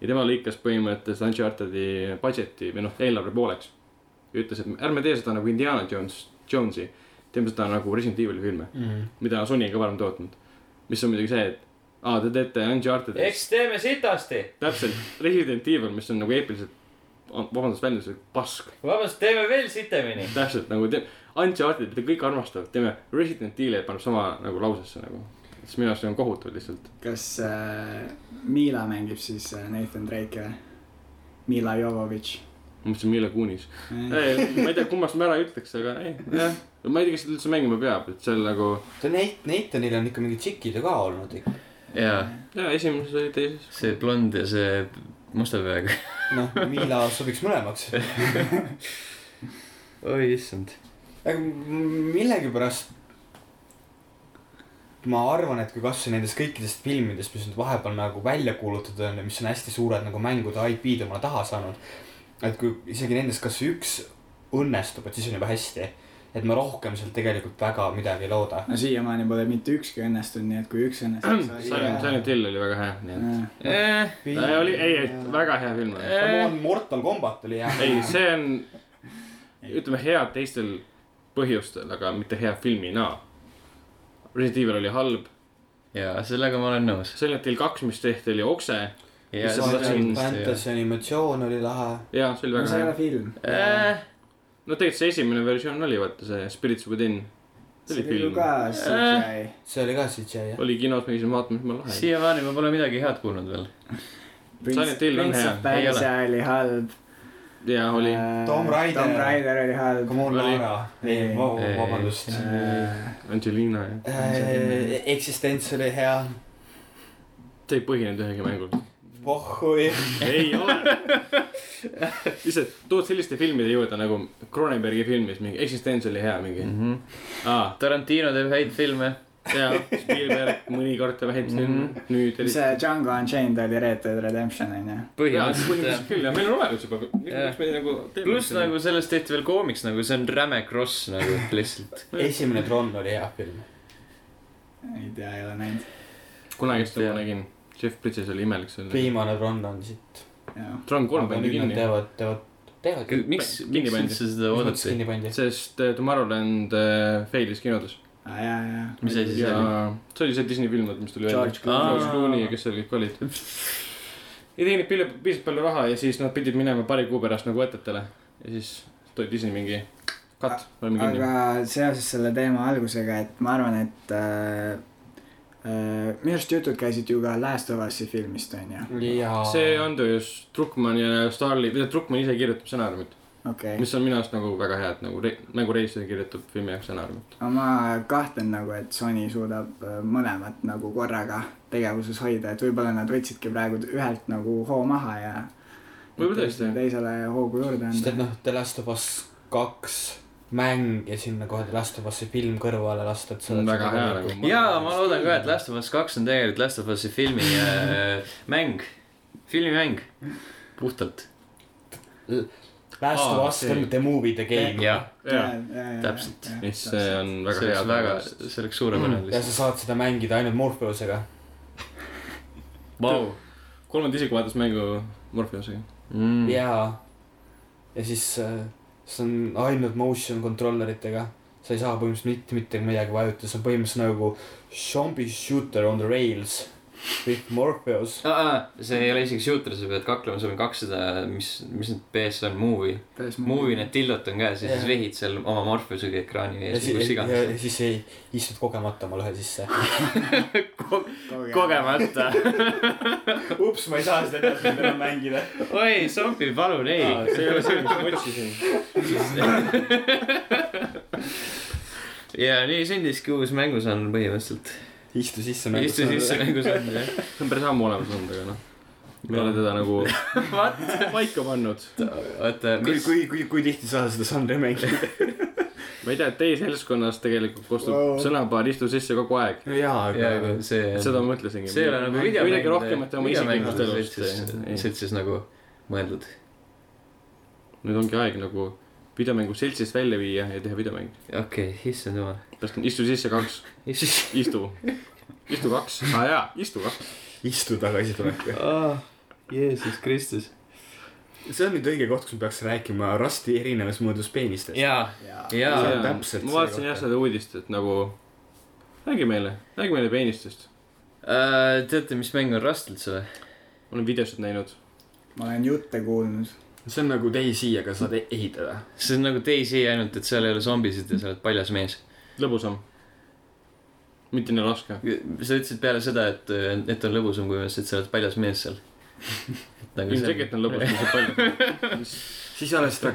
ja tema lõikas põhimõtteliselt Uncharted'i budget'i või noh , eelarve pooleks . ja ütles , et ärme tee seda nagu Indiana Jones , Jones'i , teeme seda nagu Resident Evil'i filme ,
mm.
mida Sony on ka varem tootnud . mis on muidugi see , et aa , te teete Uncharted'i ,
eks teeme sitasti ,
täpselt Resident Evil , mis on nagu eepiliselt , vabandust , väljenduslik pask .
vabandust , teeme veel sitemini .
täpselt nagu te- , Uncharted , mida kõik armastavad , teeme Resident Evil'i ja paneb sama nagu lausesse nagu . siis minu arust see on kohutav lihtsalt .
kas äh, Mila mängib siis äh, Nathan Drake'i või ? Mila Jovovitš .
ma mõtlesin Mila Kunis .
Mm.
ma ei tea , kummast ma ära ei ütleks , aga ei , jah . ma ei tea , kes seda üldse mängima peab , et seal nagu ,
ta Nate , Nathanil on ikka mingid tšikid ju ka olnud ikka .
jaa ,
jaa , esimeses oli teises .
see blond ja see musta peaga .
noh , Miila sobiks mõlemaks .
oi issand .
aga m- millegipärast ma arvan , et kui kasvõi nendest kõikidest filmidest , mis nüüd vahepeal nagu välja kuulutatud on ja mis on hästi suured nagu mängude IP-d omale taha saanud , et kui isegi nendest kasvõi üks õnnestub , et siis on juba hästi . et ma rohkem sealt tegelikult väga midagi ei looda .
no siiamaani pole mitte ükski õnnestunud , nii et kui üks õnnestub , siis
[clears throat] Silent , Silent Hill oli väga hea , nii et .
Film-
oli , ei , ei , väga hea film oli .
Come on , Mortal Combat oli hea .
ei , see on , ütleme , hea teistel põhjustel , aga mitte hea filmina . Resident Evil oli halb ,
jaa , sellega ma olen nõus .
Silent Hill kaks , mis tehti , oli okse
jaa ,
Mis
seda
on
kindlasti jah .
Fantasy animatsioon oli lahe .
jaa , see oli
no
väga
see ei
hea Äh,
ole . film .
Äh,
no tegelikult see esimene versioon oli vaata see Spirits Within . see
see
oli
oli ju
film , Äh.
ka CGI .
see oli ka CGI jah .
oli kinos , me käisime vaatamas , jumala lahe .
siiamaani ma pole midagi head kuulnud veel .
Prince
Silent Hill on
Prince
hea,
of
ei ole.
Persia oli halb .
jaa , oli .
Tomb Raider.
Tomb Raider oli halb .
Come on ,
Oli-
Laara .
Ei.
ei ,
Ei.
vabandust .
Angelina ja .
eksistents oli hea
see ei põhinenud ühegi mängul .
pohhui .
[laughs] ei ole . [laughs] lihtsalt tood selliste filmide juurde nagu Cronenbergi filmis mingi Existents oli hea mingi .
Mm.
aa ,
Mhm. Tarantino teeb häid filme .
jaa , Spielberg mõnikord teeb häid
Mhm.
filme , nüüd .
Äh, see Django Unchained oli Red Dead Redemption onju .
põhimõtteliselt jah
põhimõtteliselt küll ja meil on olemas juba . miks me nagu teeme ?
pluss nagu sellest tehti veel koomiks nagu see on räme kross nagu lihtsalt .
esimene Tron oli hea film .
ei tea , ei ole näinud .
kunagist
Jaa.
ma nägin , Jeff Bridges oli imelik seal .
viimane Tron on siit .
Tron kolm pandi kinni .
teevad , teevad , teevad .
miks ,
Kinni
miks
pandi.
üldse seda oodati ?
kinni pandi .
sest äh, Tomorrowland äh, fail'is kinodes
aa Ah, jaa , jaa .
Mis asi see
ja see oli see Disney film , mis tuli
George
Clooney.
George Clooney ja kes seal kõik olid . ja teenib pil- , piisavalt palju raha ja siis nad pidid minema paari kuu pärast nagu võtetele ja siis tuli Disney mingi cut , paneme kinni .
aga seoses selle teema algusega , et ma arvan , et äh, äh, minu arust jutud käisid ju ka Last of Us'i filmist onju .
jaa .
see . on töös Druckmann ja Starli , või Druckmann ise kirjutab stsenaariumit ,
okei okay. ,
mis on minu arust nagu väga hea , et nagu re, nagu reisija kirjutab filmi jaoks stsenaariumit .
aga ma kahtlen nagu , et Sony suudab äh, mõlemat nagu korraga tegevuses hoida , et võib-olla nad võtsidki praegu ühelt nagu hoo maha ja .
Võib-olla tõesti.
teisele hoogu juurde
sest et
anda .
noh , The Last of Us kaks mäng ja sinna kohe The Last of Us'i film kõrvale lasta , et
see on väga hea . nagu .
jaa , ma loodan ka , et Last of Us kaks on tegelikult Last of Us'i filmi äh, mäng , filmimäng , puhtalt .
Last of
Aa,
Us
see-
on the movie , the game .
jah ,
jaa ,
Täpselt.
siis see on väga
see
hea Mm.
oleks . väga , see oleks suurepärane
ja sa
lihtsalt .
saad seda mängida ainult Morpheusega .
Vau . Mm.
kolmanda isiku vaatas mängu Morpheusega .
jaa . ja siis äh, see on ainult motion controller itega , sa ei saa põhimõtteliselt mitte mitte midagi vajutada , see on põhimõtteliselt nagu zombie shooter on the rails with Morpheus .
see ei ole isegi shooter , sa pead kaklema , sul on kakssada , mis , mis need PS on , movie . Movie need tildot on käes ja siis
Jah.
vehid seal oma Morpheusega ekraani
ja
ees , kus
siis , ja
iganes .
ja siis ei , istud kogemata oma lõhe sisse .
[laughs]
kogemata .
[laughs] ups , ma ei saa seda edasi enam mängida .
oi , zombi , palun , ei .
Ah, see ei ole see , mis ma otsisin .
[laughs] ja nii sündiski uus mängusõnum põhimõtteliselt .
istu sisse . nagu
istu sisse . mängusõnum , jah .
nagu see on päris ammu olemas olnud , aga noh , me ei ole teda
[laughs]
nagu paika pannud .
oota ,
kui ,
mis ,
kui , kui , kui tihti sa seda žanri
[laughs]
mängid ?
ma ei tea , et teie seltskonnas tegelikult kostub
Wow.
wow. sõnapaar istu sisse kogu aeg .
no jaa ,
jaa ,
aga nagu,
aga see .
seda ma mõtlesingi .
see ei ole nagu videomäng .
kuidagi rohkem , et oma isiklikust elust .
seltsis nagu mõeldud .
nüüd ongi aeg nagu videomängu seltsist välja viia ja teha videomäng .
okei okay, , issand jumal .
pärast on istu sisse kaks , istu , istu kaks , aa jaa , istu kaks .
istu tagasi tulek .
Ah, Jeesus Kristus .
see on nüüd õige koht , kus me peaks rääkima rasti erinevas mõõdus peenistest .
jaa ,
ma
jaa .
täpselt selle
vaatasin jah
kohta.
seda uudist , et nagu räägi meile , räägi meile peenistest .
Äh, teate , mis mäng on Rust üldse või ?
ma olen videosid näinud .
ma olen jutte kuulnud .
see on nagu Daisy , aga saad e- ehitada .
see on nagu Daisy , ainult et seal ei ole zombisid ja sa oled paljas mees .
lõbusam . mitte nii raske .
sa ütlesid peale seda , et , et on lõbusam , kui ma ütlesin , et sa oled paljas mees seal . [laughs] Nagu
ilmselgelt on lõbusam , see palju .
siis ei ole seda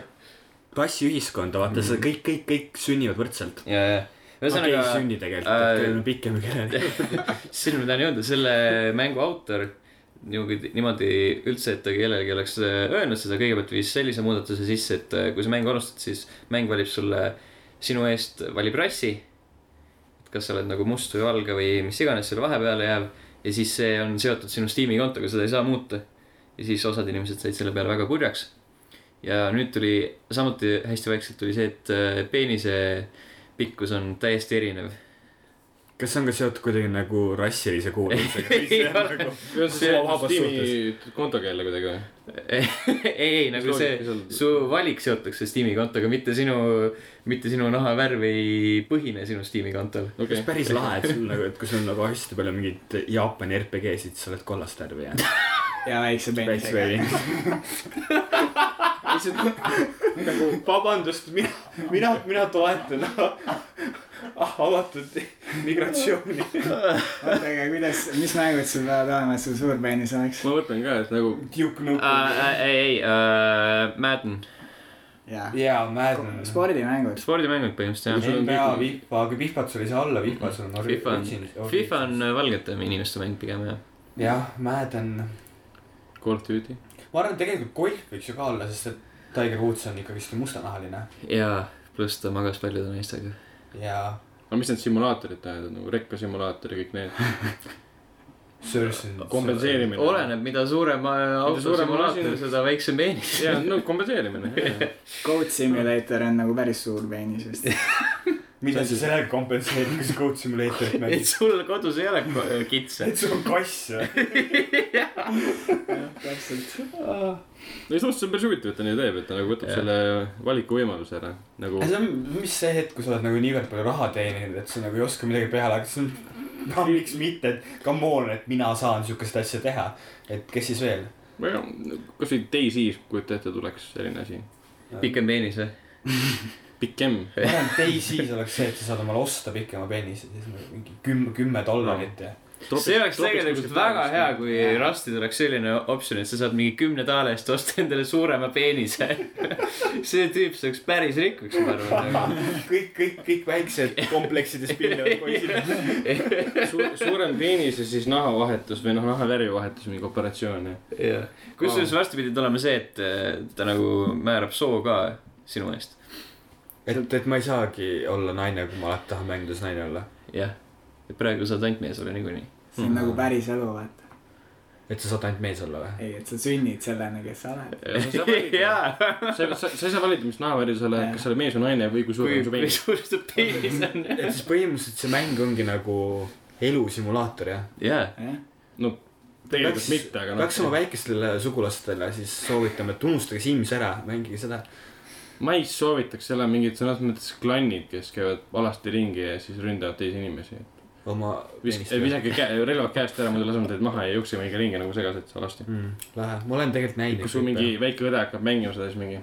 klassiühiskonda , vaata mm. , sa kõik , kõik , kõik sünnivad võrdselt .
ja , ja .
okei
ühesõnaga
ei
okay, ,
sünni tegelikult äh... ,
äh,
et kellel on pikem ja
[laughs]
[laughs] kellel ei .
siin ma tahan jõuda , selle mängu autor niimoodi , niimoodi üldse , et ta kellelegi oleks äh, öelnud seda , kõigepealt viis sellise muudatuse sisse , et äh, kui sa mängu alustad , siis mäng valib sulle , sinu eest valib rassi . et kas sa oled nagu must või valge või mis iganes selle vahepeale jääb ja siis see on seotud sinu Steam'i kontoga , seda ei saa muuta . ja siis osad inimesed said selle peale väga kurjaks . ja nüüd tuli samuti hästi vaikselt tuli see , et äh, peenise pikkus on täiesti erinev . [laughs]
kas see on ka seotud kuidagi nagu
Ei
rassilise
ole.
kuuluvusega ?
kas see
Oma
on
vabas
Steam'i kontoga jälle kuidagi või ?
ei , ei nagu see , su valik seotakse Steam'i kontoga , mitte sinu , mitte sinu nahavärv ei põhine sinu Steam'i kontol .
okei
kas , päris lahe , et sul nagu , et kui sul on nagu hästi palju mingeid Jaapani RPG-sid , siis sa oled kollast värvi ja
ja väikse
päris
peenisega .
värvi . nagu vabandust , mina , mina , mina toetan Ah, avatud migratsiooni .
oota , aga kuidas , mis mängud sul peavad olema , et sul suur peenis oleks ?
ma mõtlen ka , et nagu
Duke Äh,
Uh, ei , ei uh, , Madden ,
jaa .
jaa , Madden .
spordimängud .
spordimängud põhimõtteliselt jah .
NBA vihma , aga vihmat sul ei saa olla , vihmad sul on .
Mm. FIFA on , FIFA on . valgete inimeste mäng pigem jah .
jah , Madden .
Call of Duty .
ma arvan , et tegelikult golf võiks ju ka olla , sest et Tiger Woods on ikkagist ju mustanahaline
ja pluss ta magas paljude naistega .
ja
aga mis need simulaatorid tähendavad , nagu rekkasimulaator ja kõik
[laughs]
need .
Sörsen .
kompenseerimine .
oleneb , mida suurem äh,
Mida
auto
suurem
simulaator ,
masin-
seda väiksem peenis .
jaa , no kompenseerimine .
Goat Simulator on nagu päris suur peenis vist .
mida sa sellega kompenseerid , kui sa Goat
[laughs] [laughs]
Simulatorit
et
mängid ?
sul kodus ei ole ko- kitse .
et sul on kass
[laughs]
või ?
täpselt .
ei suhteliselt päris huvitav , et ta nii teeb , et ta nagu võtab
Jah.
selle valikuvõimaluse ära . nagu
see on , mis see hetk , kui sa oled nagu niivõrd palju raha teeninud , et sa nagu ei oska midagi peale hakata , siis on [laughs] no miks mitte , et come on , et mina saan siukest asja teha , et kes siis veel .
väga , kasvõi Daisy , kujuta ette , tuleks selline asi .
pikem peenis või ?
pikem .
ma [laughs] arvan , et Daisy oleks see , et sa saad omale osta pikema peenise , siis nagu mingi kümme , kümme dollarit ja .
see oleks tegelikult väga hea , kui Rustil oleks selline optsioon , et sa saad mingi kümne taale eest osta endale suurema [laughs] peenise . see tüüp saaks päris rikkaks , ma arvan .
[laughs] kõik , kõik , kõik väiksed kompleksides pinnevad poisid .
Su, suurem peenis ja siis nahavahetus või noh , nahavärvi vahetus , mingi operatsioon ja .
kusjuures varsti pidi tulema see , et eh, ta nagu määrab soo ka sinu eest .
[laughs] et , et ma ei saagi olla naine , kui ma alati tahan mängides naine olla .
jah , praegu saad ainult mees olla niikuinii .
see on nagu päris elu , vaata .
et sa saad ainult mees olla või ?
ei , et sa sünnid sellena , kes sa oled .
sa ,
[laughs] jaa ,
sa , sa ei saa valida , mis nahavärvi sa oled , kas sa oled mees või naine või kui suur
kui
on su
kui
peenis .
suur su peenis on .
et siis põhimõtteliselt see mäng ongi nagu elusimulaator jah .
[laughs] jaa ,
jah ,
no tegelikult mitte , aga noh.
noh, peaks oma . väikestele sugulastele siis soovitama , et unustage Sims ära , mängige seda .
ma ei soovitaks seal on mingid sõnas mõttes klannid , kes käivad alasti ringi ja siis ründavad teisi inimesi .
oma .
visake käe , relvad käest ära , muidu laseme teid maha ja jookseme ikka ringi nagu segased seal alasti .
Mm. Lähe , ma olen tegelikult näinud .
kui sul mingi . väike õde hakkab mängima seda , siis mingi .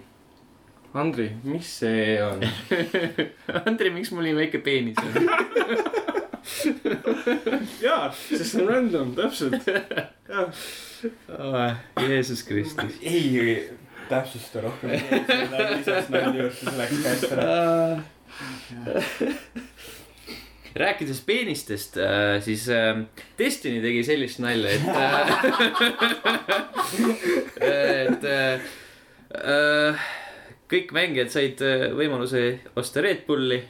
Andri , mis see E on ?
Andri , miks mul nii väike peenis on ?
jaa , sest see on random , [laughs] täpselt .
Jeesus Kristus .
ei täpsusta rohkem . lisaks nalja juurde läks käest ära .
Äh. [laughs] rääkides peenistest , siis äh, Destiny tegi sellist nalja , et äh, , [laughs] et äh, äh, kõik mängijad said äh, võimaluse osta Red Bulli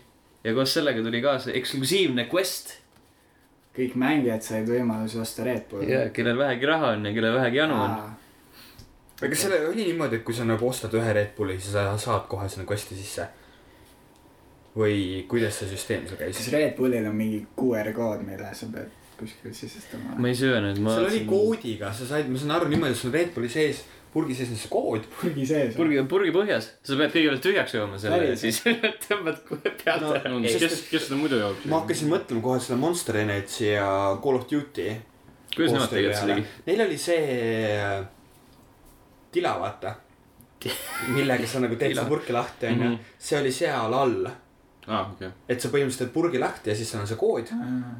ja koos sellega tuli kaasa eksklusiivne quest
kõik mängijad said võimaluse osta Red Bulli .
ja kellel vähegi raha on ja kellel vähegi janu on .
aga kas selle oli niimoodi , et kui sa nagu ostad ühe Red Bulli , siis sa saad kohe sinna kosti sisse ? või kuidas see süsteem seal käis
siis ? Red Bullil on mingi QR kood , mille sa pead kuskil sisestama .
ma ei söönud , ma .
seal oli . koodiga , sa said , ma saan aru niimoodi , sul Red Bulli sees , purgi sees on see kood .
purgi sees .
purgi , purgi põhjas , sa pead kõigepealt tühjaks jooma selle ja siis [laughs]
Päriselt?
tõmbad kohe pealt
No,
ära
no,
no, .
kes , kes seda muidu joob ?
ma hakkasin mõtlema kohe seda Monster Energy ja Call of Duty .
kuidas nemad tegelikult seda tegid ??
Neil oli see äh, tila , vaata , millega sa nagu teed
Tila. Mhm.
seda purki lahti , onju . see oli seal all ,
aa , Ah, okei .
et sa põhimõtteliselt teed purgi lahti ja siis seal on see kood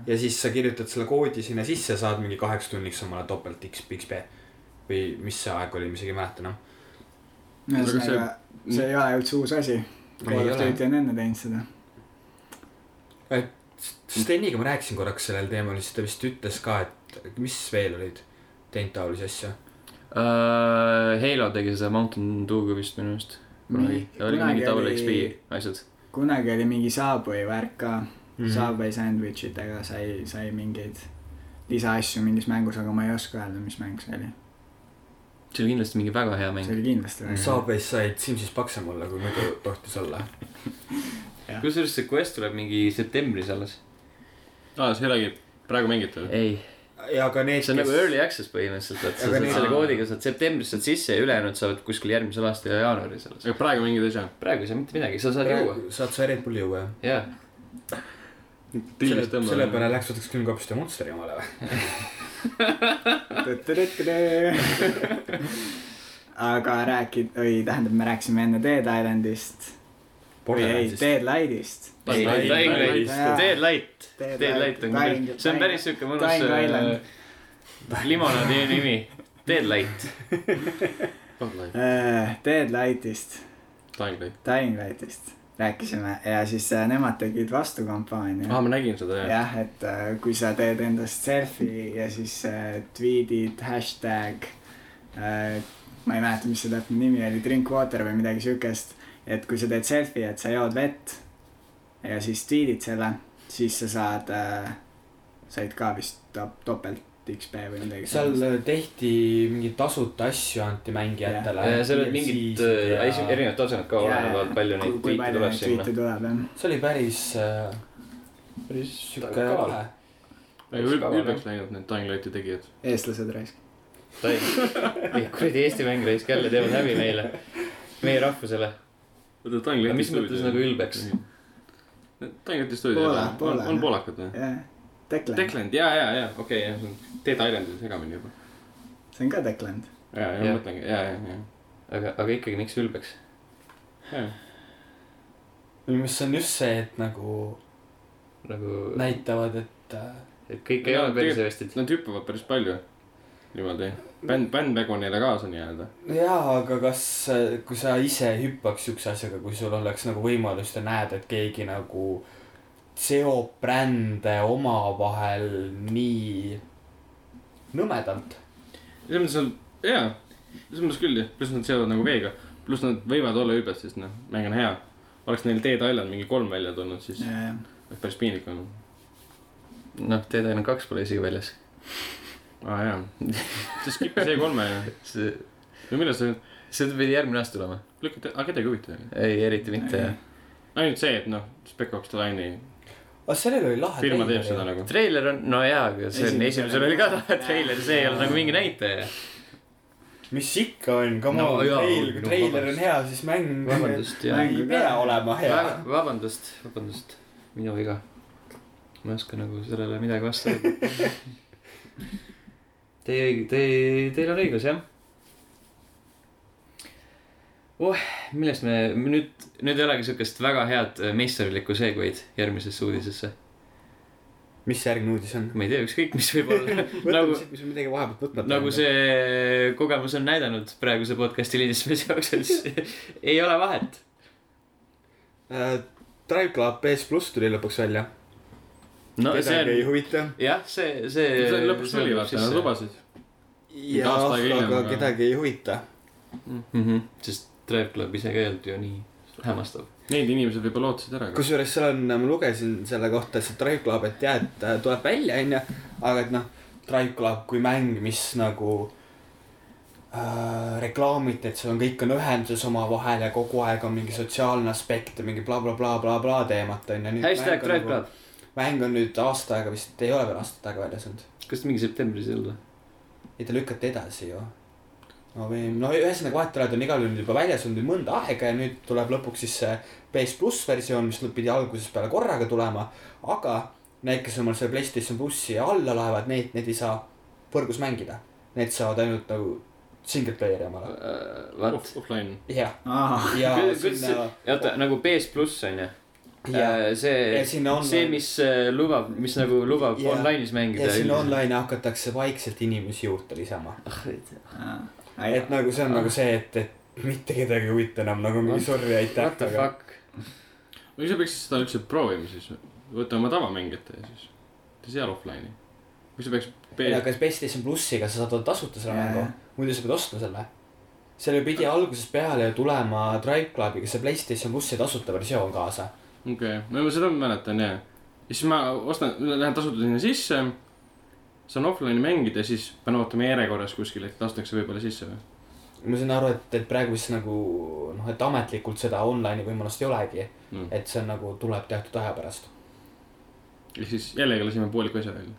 ja siis sa kirjutad selle koodi sinna sisse ja saad mingi kaheks tunniks omale topelt X , XP või mis see aeg oli , ma isegi ei mäleta enam .
ühesõnaga , see ei ole üldse uus asi .
Ei
Call of
ole.
Duty on enne teinud seda .
Steniga ma rääkisin korraks sellel teemal , siis ta vist ütles ka , et mis veel olid teinud taolisi asju .
uh, . Halo tegi seda Mountain Dew'ga vist minu meelest .
Mingi-
oli mingi
kunagi
double
oli-
XP asjad .
kunagi oli mingi Subway värk ka
Mhm.
mm. . Subway sandwich idega sai , sai mingeid lisaasju mingis mängus , aga ma ei oska öelda , mis mäng see oli .
see oli kindlasti mingi väga hea
see
mäng . Mhm.
oli kindlasti väga hea .
Subway's said Simsis paksem olla , kui muidu tohtis olla .
kusjuures see Quest tuleb mingi septembris alles .
aa , Ah, see ei olegi praegu mängitav .
ei ,
ja ka need ,
see on nagu early access põhimõtteliselt , et sa
Aga
saad
nii-
selle koodiga saad septembris saad sisse ja ülejäänud saavad kuskil järgmisel aastal ja jaanuaris alles .
aga praegu mängida ei saa .
praegu ei saa mitte midagi , sa saad juua .
saad saad sa Red Bulli juua , jah ?
jah ,
selle , selle peale . läks , võtaks külmkapist ja Monsteri omale või ?
aga rääkid , või tähendab , me rääkisime enne Dead Islandist . või ei , Dead Lightist .
Dying Light ,
Dying
Dying
Light.
Light , Dead Light ,
Dead
Dead
Light.
Light on
Dying-
küll , see on
Dying-
päris äh, siuke mõnus
Dying Island.
äh, limonaadi nimi , Dead Light .
Ah,
Äh, Dead Lightist ,
Dying Light .
Dying Lightist rääkisime ja siis äh, nemad tegid vastukampaania .
Ah,
aa , ma nägin seda jah .
jah , et äh, kui sa teed endast selfie ja siis äh, tweet'id , hashtag äh, , ma ei mäleta , mis see täpne nimi oli , drink water või midagi siukest . et kui sa teed selfie , et sa jood vett ja siis tweet'id selle , siis sa saad äh, , said ka vist top, topelt XP või midagi
seal äh, tehti mingeid tasuta asju anti mängijatele
Jah. .
Äh, seal olid mingid
Ja-
äh, esi- erinevad tasemed ka olenevalt , palju neid
kui
tiite
palju
tuleb
neid
sinna .
tweet'e tuleb jah .
see oli päris , päris sihuke
Kaval.
lahe .
aga ül- , ülbeks läinud need Dying Lighti tegijad .
eestlased raisk .
ei , kuradi Eesti mäng raisk jälle teevad häbi meile , meie rahvusele .
oota ,
aga
Dying Lighti
mis mõttes nagu ? ülbeks ?
Dying Lighti stuudio
Poola-
on-
Poola,
on
jah.
poolakad või ?
jah , Declan ,
Declan , jaa , jaa , jaa , okei , jah , see on Dead Islandil segamini juba .
see on ka Declan .
jaa , jaa ,
Jah.
ma mõtlengi , jaa , jaa ,
aga , aga ikkagi , miks ülbeks ?
jaa .
minu meelest see on just see , et nagu
nagu ,
näitavad , et äh,
et kõik ei
No,
ole
tegelikult-
persevestid .
Nad hüppavad päris palju . niimoodi . bänd , bänd nägu neile kaasa nii-öelda .
jaa , aga kas , kui sa ise hüppaks siukse asjaga , kui sul oleks nagu võimalus ja näed , et keegi nagu seob brände omavahel nii nõmedalt .
selles mõttes on , jaa , selles mõttes küll jah , pluss nad seovad nagu veega , pluss nad võivad olla ülbed , sest noh , mäng on hea . oleks neil Dead Island mingi kolm välja tulnud , siis oleks päris piinlik olnud .
noh , Dead Island kaks pole isegi väljas .
aa Ah, jaa , [laughs] siis skip'i see kolme ja ,
see ,
või millal see ,
see pidi järgmine aasta tulema .
lükati , aga kedagi ei huvita ju .
ei , eriti mitte .
ainult see , et noh , Spec Ops The Line'i
aga Ah, sellel oli lahe .
firma teeb seda . nagu .
treiler on , no jaa , aga see on ,
Esimesel
[laughs] esimesel oli ka tore treiler , see ei olnud nagu mingi näitaja .
mis ikka on , come
No
on
jaa,
treil-
no
treiler on
vabandust.
hea , siis mäng
vabandust , jah .
[laughs] ei pea olema hea .
vabandust , vabandust , minu viga . ma ei oska nagu sellele midagi vastu öelda . Teie õig- , te , teil on õigus , jah . oh , millest me me nüüd , nüüd ei olegi siukest väga head äh, meisterlikku segway'd järgmisesse uudisesse .
mis see järgmine uudis on ?
ma ei tea , ükskõik mis võib
[laughs]
olla .
võtame
nagu ,
siit , mis me midagi vahepealt võtmata .
nagu . see kogemus on näidanud praeguse podcast'i lindistamise jaoks , et [laughs] siis ei ole vahet .
Äh, Drive Club PS pluss tuli lõpuks välja .
no see
kedagi ei
on ,
huvita .
jah , see , see .
see lõpuks tuli , vaata , nad lubasid .
ja
aasta aega , hiljem,
aga
aga-
kedagi ei huvita .
mm . -hmm. sest Drive Club ise ka ei olnud ju nii hämmastav .
Need inimesed võib-olla ootasid ära .
kusjuures seal on , ma lugesin selle kohta , et see Drive Club , et jah , et ta tuleb välja , onju , aga et noh , Drive Club kui mäng , mis nagu äh, reklaamiti , et seal on kõik on ühenduses omavahel ja kogu aeg on mingi sotsiaalne aspekt ja mingi blablabla teemat onju .
hashtag Drive Club ,
nagu- mäng on nüüd aasta aega vist , ei ole veel aasta aega väljas olnud .
kas ta mingi septembris ei olnud või ?
ei , ta lükati edasi ju . no või , no ühesõnaga vahetevahel ta on igal juhul juba väljas olnud nüüd mõnda aega ja nüüd tuleb lõpuks siis see PS pluss versioon , mis pidi algusest peale korraga tulema . aga need , kes omal selle Playstation plussi alla laevad , need , need ei saa võrgus mängida . Need saavad ainult nagu single player'i omale .
What ?
Offline .
jah ,
aa ,
ja
Kuidas- kuidas Äh,
sinna ,
oota , nagu PS pluss on ju ?
ja , ja
see ,
sinna on .
see , mis äh, lubab , mis nagu lubab
Jaa.
online'is mängida
ja . sinna online hakatakse vaikselt inimesi juurde lisama .
Äh,
et nagu see on nagu see , et , et mitte kedagi ei huvita enam nagu mingi
Noh,
sorry , aitäh .
What the fuck ?
no ise peaks seda üldse proovima siis . võtame tavamängijate ja siis . seal offline'i . miks sa peaks
ei ,
PS-
aga PlayStation plussiga sa saad tasuta selle
Jaa,
mängu
jah. ,
muidu sa pead ostma selle . seal ju pidi algusest peale ju tulema Drive Clubiga see PlayStation plussi tasuta versioon kaasa .
okei okay. , no ma seda mäletan jah . ja siis ma ostan , lähen tasuta sinna sisse . saan offline'i mängida , siis pean ootama järjekorras kuskil , et lastakse võib-olla sisse või ?
ma sain aru , et , et praegu vist nagu noh , et ametlikult seda online'i võimalust ei olegi ,
Mm.
et see on nagu tuleb teatud aja pärast .
ja siis jällegi lasime pooliku asja välja .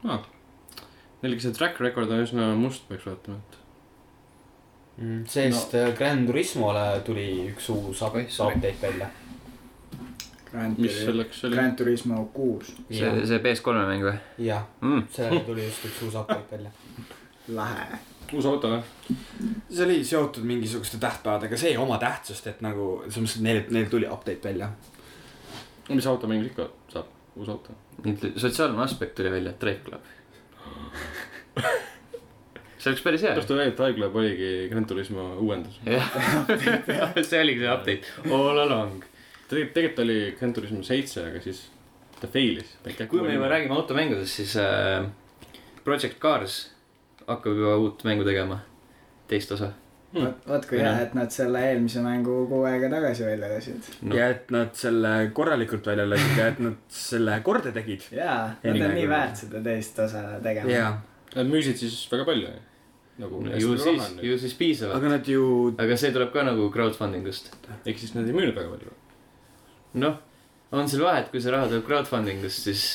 jah ,
Neil ikka see track record on üsna must , peaks vaatama , et .
Mm, see-eest no. Grand äh, Turismole tuli üks uus up-
Oih, sorry.
update välja .
mis selleks oli ?
Grand Turismo kuus ,
see , see PS3-e mäng või
jah ,
mm. ?
sellele tuli just üks uus update välja .
lahe .
uus auto või ?
see oli seotud mingisuguste tähtpäevadega , see ei oma tähtsust , et nagu selles mõttes , et neil , neil tuli update välja .
mis auto mängis ikka saab , uus auto .
nüüd sotsiaalne aspekt tuli välja , Drive [laughs] Club . see oleks päris hea
kas . ta veel Tiger Club oligi Grand Turismo uuendus ?
jah , [laughs] see oligi see update all along .
tegelikult , tegelikult oli Grand Turismo seitse , aga siis ta failis .
kui me juba . räägime automängudest , siis äh, Project Cars hakkab juba uut mängu tegema , teist osa .
Hmm.
vot , vot kui hea , et nad selle eelmise mängu kuu aega tagasi välja lasid .
No.
no. . ja et nad selle korralikult välja lõid ja et nad selle korda tegid .
jaa , nad on nii väärt seda teist osa tegema .
jaa ,
Nad müüsid siis väga palju . nagu .
ju siis , ju siis piisavalt ,
aga nad ju ,
aga see tuleb ka nagu crowdfunding ust .
ehk siis nad ei müünud väga palju .
noh , on seal vahet , kui see raha tuleb crowdfunding ust , siis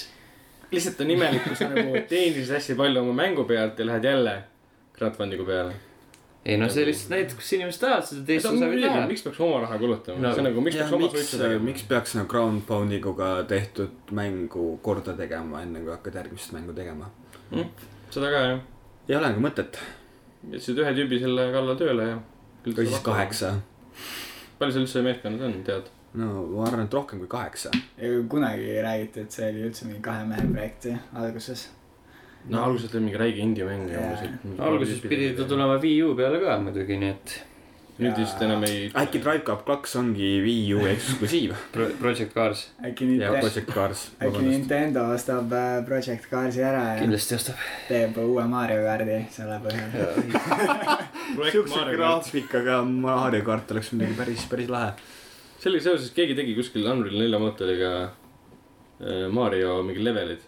lihtsalt on imelik , kui sa nagu teenisid hästi palju oma mängu pealt ja lähed jälle crowdfunding'u peale .
ei no see lihtsalt näitab , kas inimesed tahavad seda teist osa või ei taha .
miks peaks oma raha kulutama
No.
no. , see on nagu , miks peaks oma
miks
suitsu , tegema
miks ? peaks nagu crowdfunding'uga tehtud mängu korda tegema , enne kui hakkad järgmist mängu tegema ?
seda ka jah ,
ei ole nagu mõtet ,
jätsid ühe tüübi selle kallal tööle ja .
või siis . kaheksa .
palju seal üldse meeskonnad on , tead ?
no ma arvan , et rohkem kui kaheksa .
kunagi räägiti , et see oli üldse mingi kahe mehe projekt ju alguses .
no alguses oli mingi räige indie mäng ja
Jaa.
umbes .
alguses pidi ta . tulema Wii U peale ka muidugi , nii et
nüüd vist enam ei .
äkki Drive Club kaks ongi Wii U [laughs] eksklusiiv ?
Pro- Project Cars
äkki
ja
Nintendo ,
Project Cars ,
äkki
vabandust .
Nintendo ostab äh, Project Carsi ära ja
kindlasti ostab .
teeb uue Mario kaardi selle põhjal .
siukse graafikaga Mario kart oleks muidugi päris , päris lahe .
sellega seoses keegi tegi kuskil Unreal nelja mootoriga äh, Mario mingi levelid .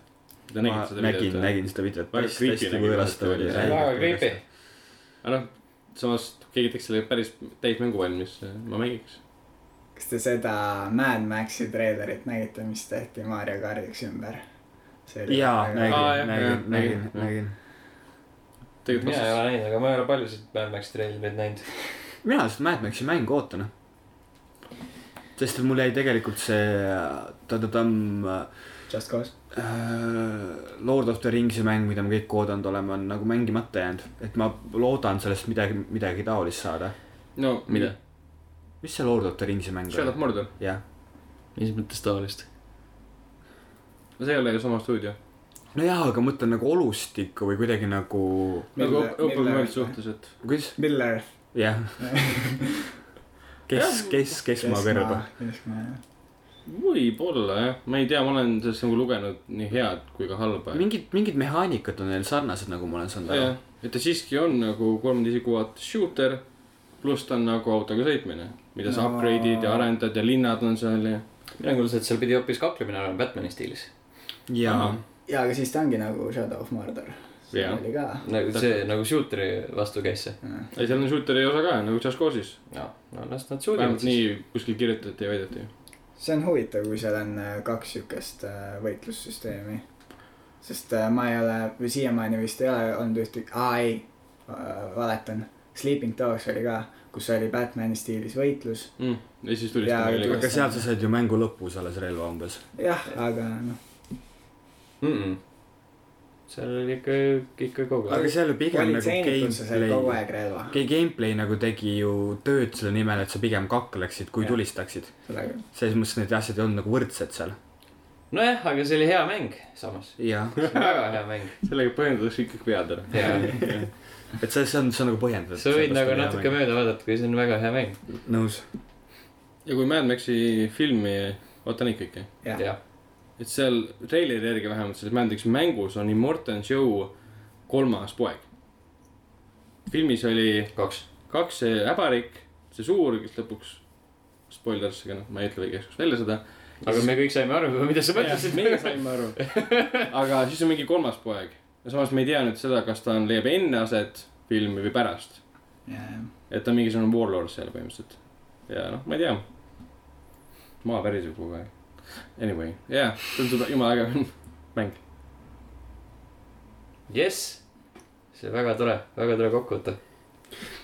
Te
ma
nägite seda
nägin ,
videot või ?
nägin seda videot .
Väga creepy nägi videot oli.
väga creepy .
aga noh , samas keegi teeks sellega päris täismängu valmis , ma mängiks .
kas te seda Mad Maxi treilerit nägite , mis tehti Mario kaardiks ümber ?
jaa ,
Aa, jah,
nägin ,
jah,
nägin , nägin ,
jah.
nägin .
tegelikult
mina ei
vastas .
ole näinud , aga ma ei ole paljusid Mad Max treilereid näinud .
mina seda Mad Maxi mängu ootan . noh. sest et mul jäi tegelikult see ta-ta-tamm
Just Cause .
äh, Lord of the Ringsi mäng , mida me kõik oodanud oleme , on nagu mängimata jäänud , et ma loodan sellest midagi , midagi taolist saada .
no
mida ??
mis see Lord of the Ringsi mäng
Shadow of
oli ?
Mordor ,
jah ,
mis mõttes taolist ?
see ei ole ju sama stuudio .
nojah , aga ma mõtlen nagu olustikku või kuidagi nagu ,
nagu
Miller-
Open
Miller-
World suhtes , et
kuidas ,
Miller . [laughs]
jah , kes , kes , kes ma kõrva .
keskmaa ,
võib-olla jah , ma ei tea , ma olen sellest nagu lugenud nii head kui ka halba .
mingid , mingid mehaanikad on neil sarnased , nagu ma olen saanud aru
jah ., et ta siiski on nagu kolmanda isiku vaates shooter , pluss ta on nagu autoga sõitmine , mida sa
No.
upgrade'id ja arendad ja linnad on seal ja .
mina kuulsin , et seal pidi hoopis kaklemine olema Batman'i stiilis .
jaa ,
jaa , aga siis ta ongi nagu Shadow of Mordor . see
Jaa.
oli ka .
nagu see nagu shooter'i vastu käis see .
ei , seal on shooter'i osa ka nagu Just Cause'is ,
no , no las nad suudavad
vähemalt
siis .
nii kuskil kirjutati ja väideti .
see on huvitav , kui seal on äh, kaks siukest äh, võitlussüsteemi . sest äh, ma ei ole , või siiamaani vist ei ole olnud ühtegi , aa ei , valetan . Sleeping Dogs oli ka , kus oli Batman'i stiilis võitlus .
Mm. ja siis
Jaa,
tulistame
aga-
ka .
aga seal sa said ju mängu lõpus alles relva umbes .
jah , aga noh ,
Mm -mm. seal oli ikka , ikka kogu
aga
aeg .
seal ju pigem nagu
politseinikud sa said kogu
gameplay ,
aeg relva .
gameplay nagu tegi ju tööd selle nimel , et sa pigem kakleksid , kui
Jah.
tulistaksid .
sellega .
selles mõttes need asjad ei olnud nagu võrdsed seal .
nojah , aga see oli hea mäng samas .
jah ,
väga hea mäng .
sellega põhjendatakse ikkagi pead ära .
et see , see on , see on nagu põhjendatud .
sa võid nagu natuke . mööda vaadata , kui see on väga hea mäng .
nõus .
ja kui Mad Maxi filmi , vaata neid kõiki .
jah ,
jah ,
et seal treileri järgi vähemalt selles Mad Maxi mängus on Immortan Joe kolmas poeg . filmis oli
kaks .
kaks , see äbarik , see suur , kes lõpuks , spoilers , aga noh , ma ei ütle kõige jaoks välja seda .
aga me kõik saime aru , [laughs] mida sa mõtlesid .
meie saime aru .
[laughs]
aga siis on mingi kolmas poeg ja samas me ei tea nüüd seda , kas ta on , leiab enne aset filmi või pärast .
jah ,
et ta on mingisugune warlord seal põhimõtteliselt . ja noh , ma ei tea . maa päriseb kogu aeg . Anyway , jaa , tundub jumala äge mäng .
jess , see väga tore , väga tore kokkuvõte .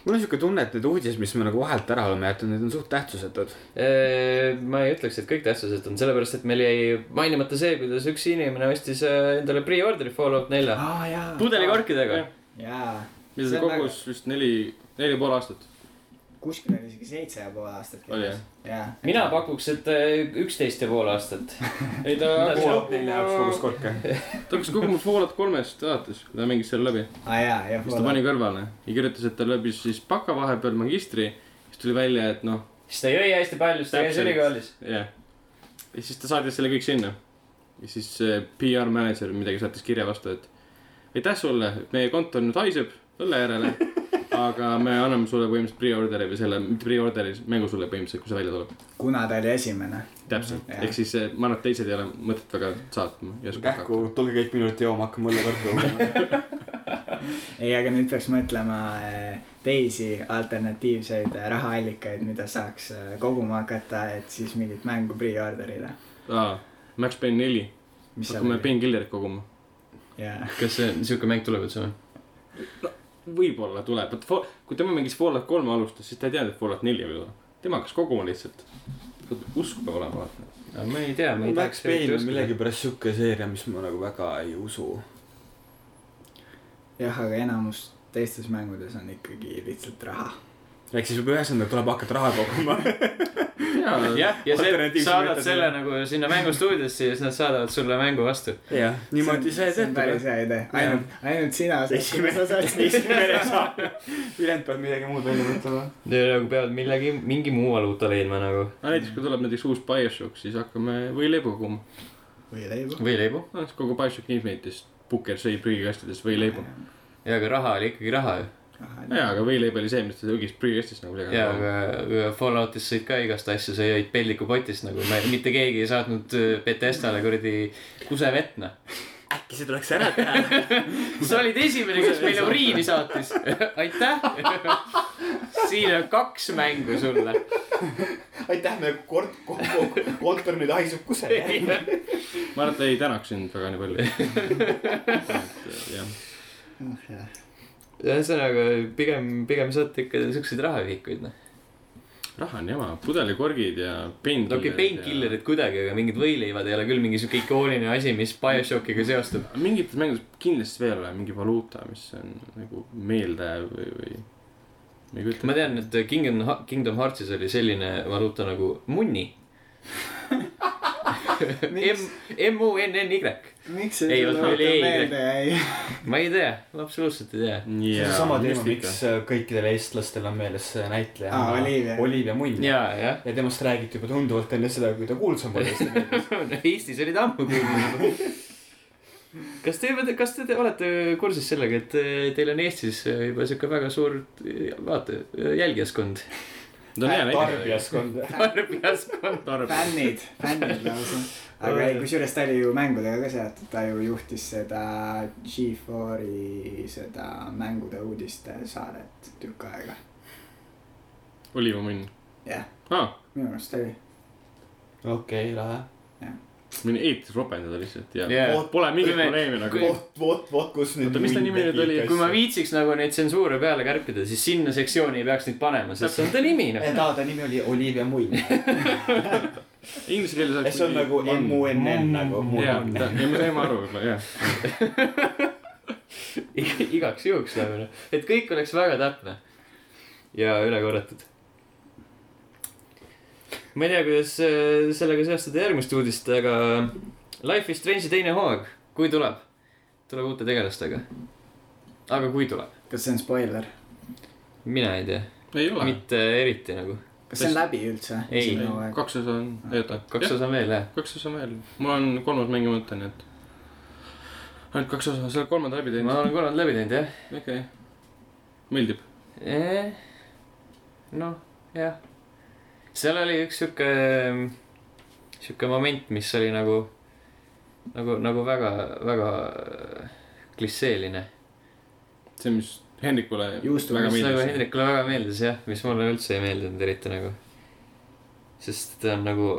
mul on siuke tunne , et need uudised , mis me nagu vahelt ära oleme jätnud , need on suht tähtsusetud .
ma ei ütleks , et kõik tähtsused on , sellepärast et meil jäi mainimata see , kuidas üks inimene ostis äh, endale pre-order'i Fallout nelja
aa jaa .
pudelikorkidega .
jaa ,
mida
See
ta
on väga-
kogus vist neli , neli ja pool aastat .
kuskil oli isegi seitse ja pool aastat
Oli, jah?
käis . jaa .
mina pakuks , et eh, üksteist ja pool
[laughs]
aastat .
ei ta , ta
korke .
hakkas koguma Fallout kolmest alates , kui ta mängis selle läbi .
aa jaa , jah .
siis ta pani kõrvale ja kirjutas , et ta läbis siis baka vahepeal magistri , siis tuli välja , et noh ,
siis ta jõi hästi palju , siis ta käis
Täpselt.
ülikoolis .
jah . ja siis ta saatis selle kõik sinna . ja siis eh, see PR mänedžer midagi saatis kirja vastu , et aitäh sulle , meie kontor nüüd haiseb õlle
[laughs]
järele , aga me anname sulle põhimõtteliselt pre-order'i või selle , mitte pre-order'i , mängu sulle põhimõtteliselt , kui see välja tuleb .
kuna ta oli esimene .
täpselt ,
Jah.
ehk siis eh, ma arvan , et teised ei ole mõtet väga saatma .
kähku , tulge kõik minu juurde jooma , hakkame õlle korke jooma .
ei , aga nüüd peaks mõtlema eh, teisi alternatiivseid eh, rahaallikaid , mida saaks eh, koguma hakata , et siis mingit mängu pre-order'ile .
aa , Max Payne neli ,
mis seal
hakkame
oli ?
painkillerit koguma .
jaa ,
kas see , siuke mäng tuleb üldse või ?
võib-olla tuleb , vot kui tema mängis Fallout kolme alustas , siis ta ei teadnud , et Fallout neli võib olla . tema hakkas koguma lihtsalt . usku peab olema , vaata .
ma ei tea , ma ei
Max
tahaks .
Payne on . millegipärast siuke seeria , mis ma nagu väga ei usu .
jah , aga enamus teistes mängudes on ikkagi lihtsalt raha .
ehk siis juba ühesõnaga tuleb hakata raha koguma .
jah , ja see ,
Alternatiivse
saadad
meetodina.
selle nagu sinna mängustuudiosse ja siis nad saadavad sulle mängu vastu .
jah , niimoodi see
see on päris
tehtud .
hea idee , ainult , ainult sina saad ,
Esimene-
sa saad .
esimene [laughs] saab . ülejäänud peavad midagi muud välja mõtlema .
nagu peavad millegi , mingi muu valuuta leidma nagu .
aga näiteks kui tuleb näiteks uus BioShock , siis hakkame võileibu koguma .
või leibu .
või leibu .
noh , siis kogu BioShock Infinite'is Pukker sõi prügikastidest võileibu .
ja , aga raha oli ikkagi raha ju .
jaa , aga võileib oli see , mis ta õgis prügikastist nagu
ja , aga Falloutis sõid ka igast asju , sa jõid pellikupotist nagu , mitte keegi ei saatnud äh, Bethesdale kuradi kusevett , noh .
äkki see tuleks ära teha ?
sa olid esimene , kes meile uriini saatis . aitäh . siin on kaks mängu sulle .
aitäh , me kord , kontor nüüd haisub kusagil .
ma arvan ,
[laughs]
et ta ei tänaks sind väga nii palju . jah ,
ühesõnaga pigem , pigem saate ikka siukseid rahavihikuid , noh .
raha on jama , pudelikorgid ja pain .
no okei , painkillerid kuidagi , aga mingid võileivad ei ole küll mingi siuke ikooniline asi , mis BioShockiga seostub .
mingites mängudes kindlasti veel ole mingi valuuta , mis on nagu meeldejääv või , või . ma ei kujuta
ma . tean , et Kingdom , Kingdom Heartsis oli selline valuuta nagu munni . M
miks ,
M U N N Y .
miks see
Ei, vot
sulle
meil ei-
õhtul meelde jäi ?
ma ei tea , absoluutselt ei tea .
see on seesama teema , miks äh, kõikidel eestlastel on meeles see näitleja
Aa, Olivia.
Olivia Munn .
ja , jah .
ja temast räägiti juba tunduvalt enne seda , kui ta kuulsam oli .
[laughs]
[laughs]
Eestis olid ammu kuulnud . kas te , kas te, te olete kursis sellega , et eh, teil on Eestis eh, juba siuke väga suur eh, vaata , jälgijaskond ,
ta on hea näide .
tarbijaskond .
tarbijaskond .
fännid , [laughs] fännid
[laughs]
lausa . aga ei , kusjuures ta oli ju mängudega ka seotud , ta ju juhtis seda G4-i seda mängude uudiste saadet tükk aega .
Oliva Munn . Ah,
jah ,
aa ,
minu arust oli .
okei , lahe .
mine eetis ropendada lihtsalt ja
Jaa.
yeah. pole mingit
Kui me-
probleemi nagu
kui- .
vot , vot , vot , kus nüüd .
Oota, mis ta nimi nüüd oli?
kui ma
[laughs]
viitsiks nagu neid tsensuure peale kärpida , siis sinna sektsiooni ei peaks neid panema , sest see on ta nimi noh .
Eh, ta , ta nimi oli Olivia Munn .
Inglise keeles
see on nagu M-U-N-N nagu .
jaa , ja me saime aru võib-olla , jah .
igaks juhuks nagu noh , et kõik oleks väga täpne ja üle korratud . ma ei tea , kuidas äh, sellega seostada järgmist uudist , aga Life is Strange'i teine hooaeg , kui tuleb , tuleb uute tegelastega . aga kui tuleb ,
kas see on spoiler ?
mina ei tea ,
ei ole .
mitte eriti nagu .
kas see on läbi üldse ?
Ei.
kaks osa on , ei oota .
kaks osa on veel jah ,
kaks osa on veel . mul on kolmas mängimata , nii et . ainult kaks osa , sa oled kolmanda läbi
ma
teinud ?
olen korrad läbi teinud jah
okei okay. . meeldib .
Eh, noh , jah . seal oli üks sihuke , sihuke moment , mis oli nagu , nagu , nagu väga , väga klišeeline .
see , mis Hendrikule
Juustu-
väga
mis nagu
meeldis .
Hendrikule väga meeldis jah , mis mulle üldse ei meeldinud eriti nagu . sest ta on nagu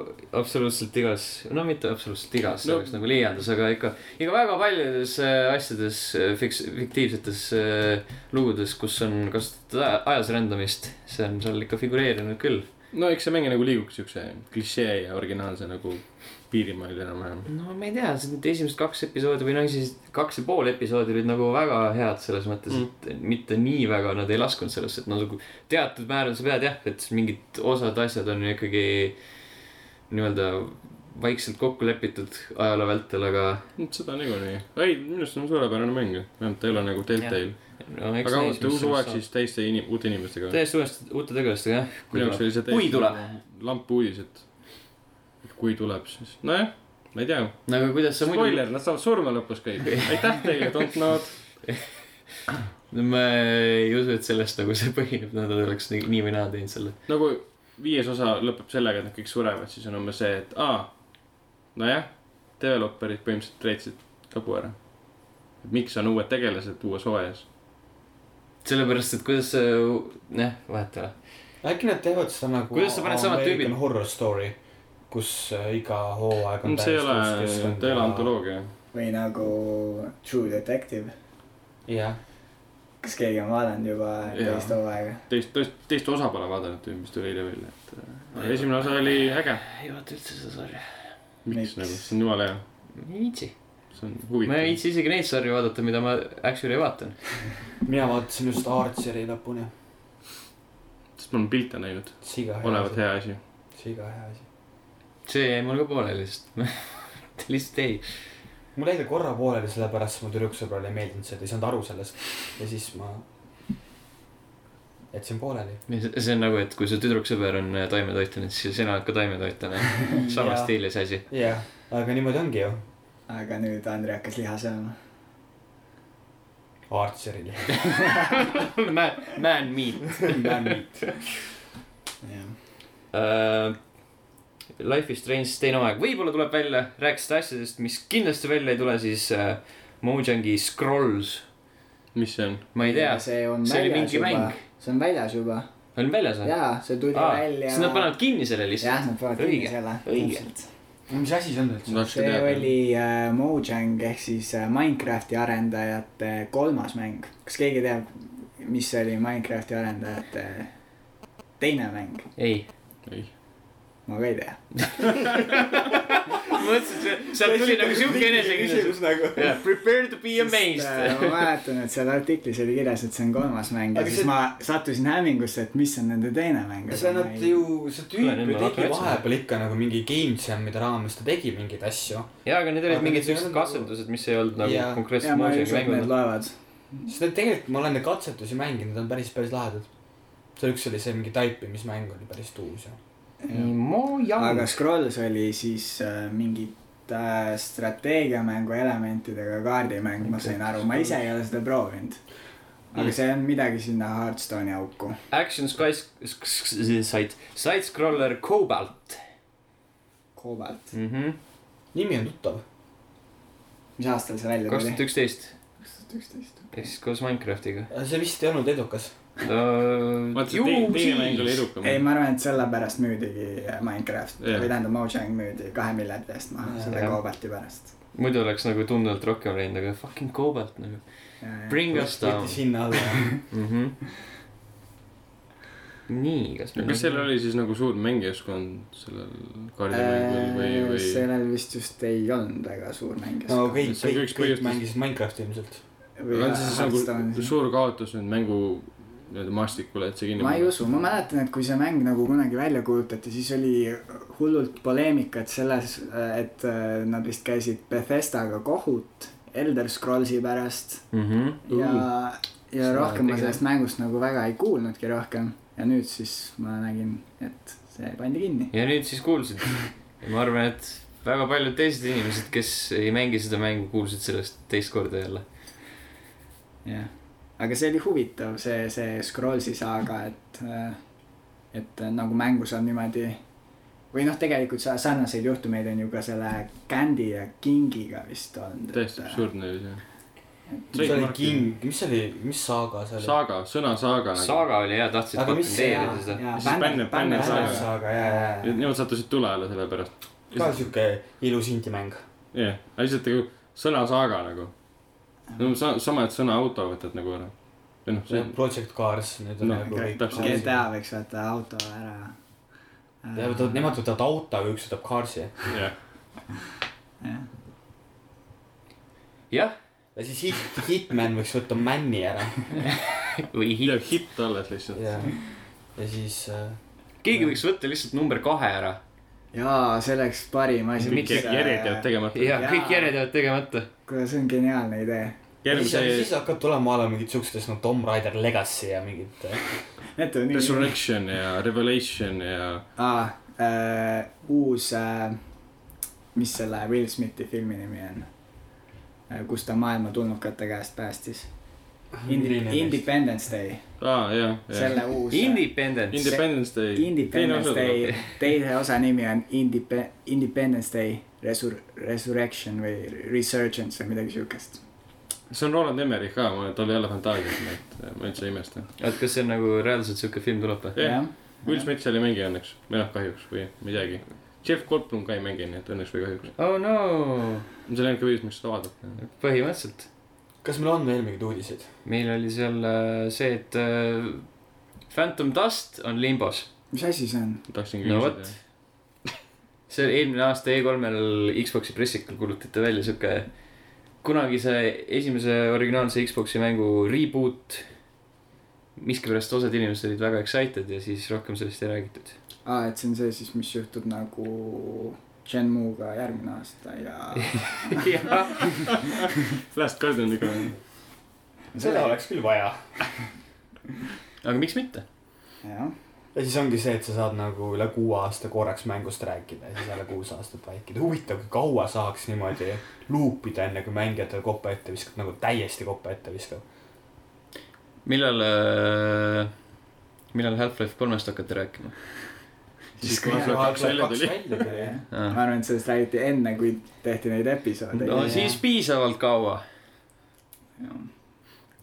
absoluutselt igas , no mitte absoluutselt igas no. ,
No.
see oleks nagu liialdus , aga ikka , ikka väga paljudes äh, asjades , fiks- , fiktiivsetes äh, lugudes , kus on kasutatud aja- ajas rändamist , see on seal ikka figureerinud küll .
no eks see mäng nagu liigub siukse klišee ja originaalse nagu piirimail enam-vähem .
no ma ei tea , need esimesed kaks episoodi või no siis kaks ja pool episoodi olid nagu väga head selles mõttes mm. , et mitte nii väga nad ei laskunud sellesse , et no nagu teatud määral sa pead jah , et mingid osad asjad on ju ikkagi nii-öelda vaikselt kokku lepitud ajaloo vältel , aga
Nüüd seda niikuinii , ei minu arust on suurepärane mäng , vähemalt ta ei ole nagu Deltail ,
no, eks näis,
aga uute
mis
uus
sellest
hooaeg
saab.
siis täiesti inim- , uute inimestega .
täiesti uuesti uute tegelastega jah .
minu jaoks oli see
kui tuleb .
täiesti lamp uudis , et et kui tuleb , siis nojah , ma ei tea .
no aga Nagu kuidas sa muidu
Spoiler , nad saavad surma lõpus kõik , aitäh teile , don't know .
no, , ma ei usu , et sellest nagu see põhineb , nad oleks nii, nii või naa teinud selle .
nagu viies osa lõpeb sellega , et nad kõik surevad , siis on umbes see , et aa , nojah , developerid põhimõtteliselt reetsid lõbu ära . miks on uued tegelased uues hooajas ?
sellepärast , et kuidas sa , jah , vahet ei ole .
äkki nad teevad seda nagu .
Kuidas sa paned samad
American
tüübid?
Horror Story , kus äh, iga hooaeg on .
Mm, see ei ole , ta ei ole . antoloogia .
või nagu True Detective ,
jah ,
kas keegi on vaadanud juba
Jaa.
teist hooaega ?
teist , teist , teist osa pole vaadanud või mis tuli eile välja , et äh, aga esimene osa oli äge .
ei vaata üldse seda sarja .
miks
Miks?
nagu , see on jumala hea ,
ei viitsi .
see on
ma ei
huvitav .
viitsi isegi neid sarju vaadata , mida ma actually vaatan .
mina vaatasin just Archeri lõpuni .
sest ma olen pilte näinud ,
siga hea
olevat
asi ,
hea asi .
siga hea asi .
see jäi mul ka pooleli , sest ma [laughs] lihtsalt ei .
mul jäi ta korra pooleli , sellepärast mu tüdruksõbrale ei meeldinud see , ta ei saanud aru sellest ja siis ma jätsin pooleli .
see on nagu , et kui su tüdruksõber on äh, taimetoitlane , siis sina oled ka
[laughs]
taimetoitlane . samas
Jaa.
stiilis asi .
jah , aga niimoodi ongi ju .
aga nüüd Andrei hakkas liha
[laughs]
sööma .
Archeril .
Man , man meat
jah ,
uh, . Life is Strange teine aeg võib-olla tuleb välja , rääkisite asjadest , mis kindlasti välja ei tule , siis uh, Mojangi Scrolls ,
mis see on ?
ma ei tea ,
see on
see oli
väljas
mingi
juba
mäng. ,
see on väljas juba ,
on väljas või ?
jaa , see tuli
Aa,
välja .
siis nad panevad kinni selle lihtsalt .
jah , nad panevad kinni
Õige,
selle .
õige. .
mis asi see on
ma
üldse ?
tahakski
see
teada .
oli äh, Mojang ehk siis äh, Minecrafti arendajate kolmas mäng , kas keegi teab , mis oli Minecrafti arendajate teine mäng ,
ei .
ei .
ma ka ei tea .
ma mõtlesin , et sealt tuli nagu siuke eneseküsimus .
nagu .
Yeah. Prepare to be
ma
amazed .
mäletan , et seal artiklis oli kirjas , et see on kolmas mäng ja
Aga
siis
see-
ma sattusin hämmingusse , et mis on nende teine mäng .
see nad ju , see
Kuule,
tüüp
nüüd ma
ju tegi
hakkan otsima.
vahepeal ikka nagu mingi game jam'ide raames , ta tegi mingeid asju .
jaa , aga need olid
Aga
mingid
see ei
siuksed
olnud nagu-
katsendused , mis ei olnud nagu
Jaa.
ja
konkreetselt
ma ei usu , et need
muusikamängu .
loevad .
sest et tegelikult ma olen neid katsetusi mänginud , need on päris , päris lahedad . seal üks oli see mingi taipimismäng oli päris tuus ja .
aga Scrolls oli siis äh, mingit äh, strateegiamängu elementidega kaardimäng , ma sain aru , ma ise ei ole seda proovinud .
Mm.
aga see on midagi sinna Hearthstone'i auku .
Action Sky , side , side scroller Cobalt
Cobalt ,
mm . -hmm.
nimi on tuttav .
mis aastal see välja
kaks
tuli
tuhat ? üksteist
kaks tuhat üksteist .
ehk siis koos Minecraftiga
see vist ei olnud edukas .
uh, .
vaata , see teine- teine mäng oli edukam .
ei , ma arvan , et sellepärast müüdigi äh, Minecraft
Jah.
yeah. või tähendab Mojang müüdi kahe miljardi eest maha
Jah.
yeah. selle
Jah.
Cobalti pärast .
muidu oleks nagu tunduvalt rohkem läinud , aga fucking Cobalt nagu . Bring us down
võttis hinna
[laughs]
alla .
mm . -hmm. nii , kas
Ja kas seal oli siis nagu suur mängijaskond sellel
Äh,
kaardimängul või , või ?
sellel vist just ei olnud väga suur mäng .
no kõik ,
See on ka
kõik
üks ,
kõik
põhjustus.
mängisid Minecrafti ilmselt .
aga on see siis
Mhm.
nagu suur kaotus nüüd mängu nii-öelda maastikule , et see kinni
ma ei . usu , ma mäletan , et kui see mäng nagu kunagi välja kuulutati , siis oli hullult poleemikat selles , et äh, nad vist käisid Bethestaga kohut Elder Scrollsi pärast
oli ?
ja ja
Seda
rohkem ma
tegema.
sellest mängust nagu väga ei kuulnudki rohkem ja nüüd siis ma nägin , et see pandi kinni .
ja nüüd siis kuulsid . ma arvan , et väga paljud teised inimesed , kes ei mängi seda mängu , kuulsid sellest teist korda jälle .
jah , aga see oli huvitav , see , see Scrollsi saaga , et , et nagu mängus on niimoodi või noh , tegelikult sa- sarnaseid juhtumeid on ju ka selle Candy ja Kingiga vist äh, olnud .
täiesti . absurdne oli see .
see oli
Trademark.
King , mis see oli , mis saaga see oli ?
saaga , sõna saaga nagu .
Saaga oli hea , tahtsid
Aga mis see-
patenteerida seda .
Ja siis Banner- Banner
Saaga,
Saaga.
saaga , jaa , jaa ,
Nemad sattusid tule alla selle pärast .
jaa . ka siuke ilus indie-mäng .
jah , aga lihtsalt nagu sõna saaga nagu . no sa- sama , et sõna auto võtad nagu ära . või noh , see
Project Cars , need on
No,
nagu
okei.
kõik .
täpselt.
GTA võiks võtta auto ära .
Nemad võtavad auto , aga üks võtab Carsi .
jah ,
jah ,
ja siis hit , Hitman võiks võtta Manni ära .
või hi- ,
jääb hitt alles lihtsalt .
ja , ja siis äh,
keegi võiks võtta lihtsalt number kahe ära
jaa , see oleks parim asi .
kõik jär- järjed jäävad tegemata .
ja kõik järjed jäävad tegemata .
kuule , see on geniaalne idee .
siis , siis
järgmise
hakkab tulema alla mingid siuksed asjad nagu Tomb Raider Legacy ja mingid äh,
Need on nii .
Resurrection ja Revelation ja
aa , Ah, äh, uus , mis selle Will Smithi filmi nimi on ? kus ta maailma tulnukate käest päästis .
Milline
Indi- ,
neist?
Independence Day ,
aa , Ah, jah , jah .
selle uus .
Independence .
Independence Day .
Independence Day , teise osa nimi on Indepe- , Independence Day Resur- , Resurrection või Resurgence või midagi siukest .
see on Roland Emmerich ka , mul tal ei ole fantaasiat , nii et äh, ma üldse ei imesta .
oot , kas see on nagu reaalselt siuke film tuleb või ?
Jah.
jah ,
Will Smith seal ei mängi õnneks või noh , kahjuks või midagi . Jeff Goldblum ka ei mängi , nii et õnneks või kahjuks .
oh no ,
see on ainuke põhjus , miks seda vaadata .
põhimõtteliselt .
kas meil on veel mingeid uudiseid ?
meil oli seal äh, see , et äh, Phantom Dust on limbos .
mis asi see on ?
tahtsin
no vot . see oli eelmine aasta E3-l Xbox'i pressikul kuulutati välja siuke kunagise esimese originaalse Xbox'i mängu reboot . miskipärast osad inimesed olid väga excited ja siis rohkem sellest ei räägitud .
aa , Ah, et see on see siis , mis juhtub nagu Shenmue'ga järgmine aasta
[laughs]
ja
Last Guardianiga on .
seda oleks küll vaja .
aga miks mitte ?
jah ,
ja siis ongi see , et sa saad nagu üle kuue aasta korraks mängust rääkida ja siis jälle kuus aastat vaikida . huvitav , kui kaua saaks niimoodi luupida , enne kui mängijatele kopa ette viskab , nagu täiesti kopa ette viskab .
millal äh, , millal Half-Life kolmest hakati rääkima ?
Siis, kui
Half-Life kaks välja tuli .
tuli .
Ah.
ma arvan , et sellest räägiti enne , kui tehti neid episoode .
no siis piisavalt kaua .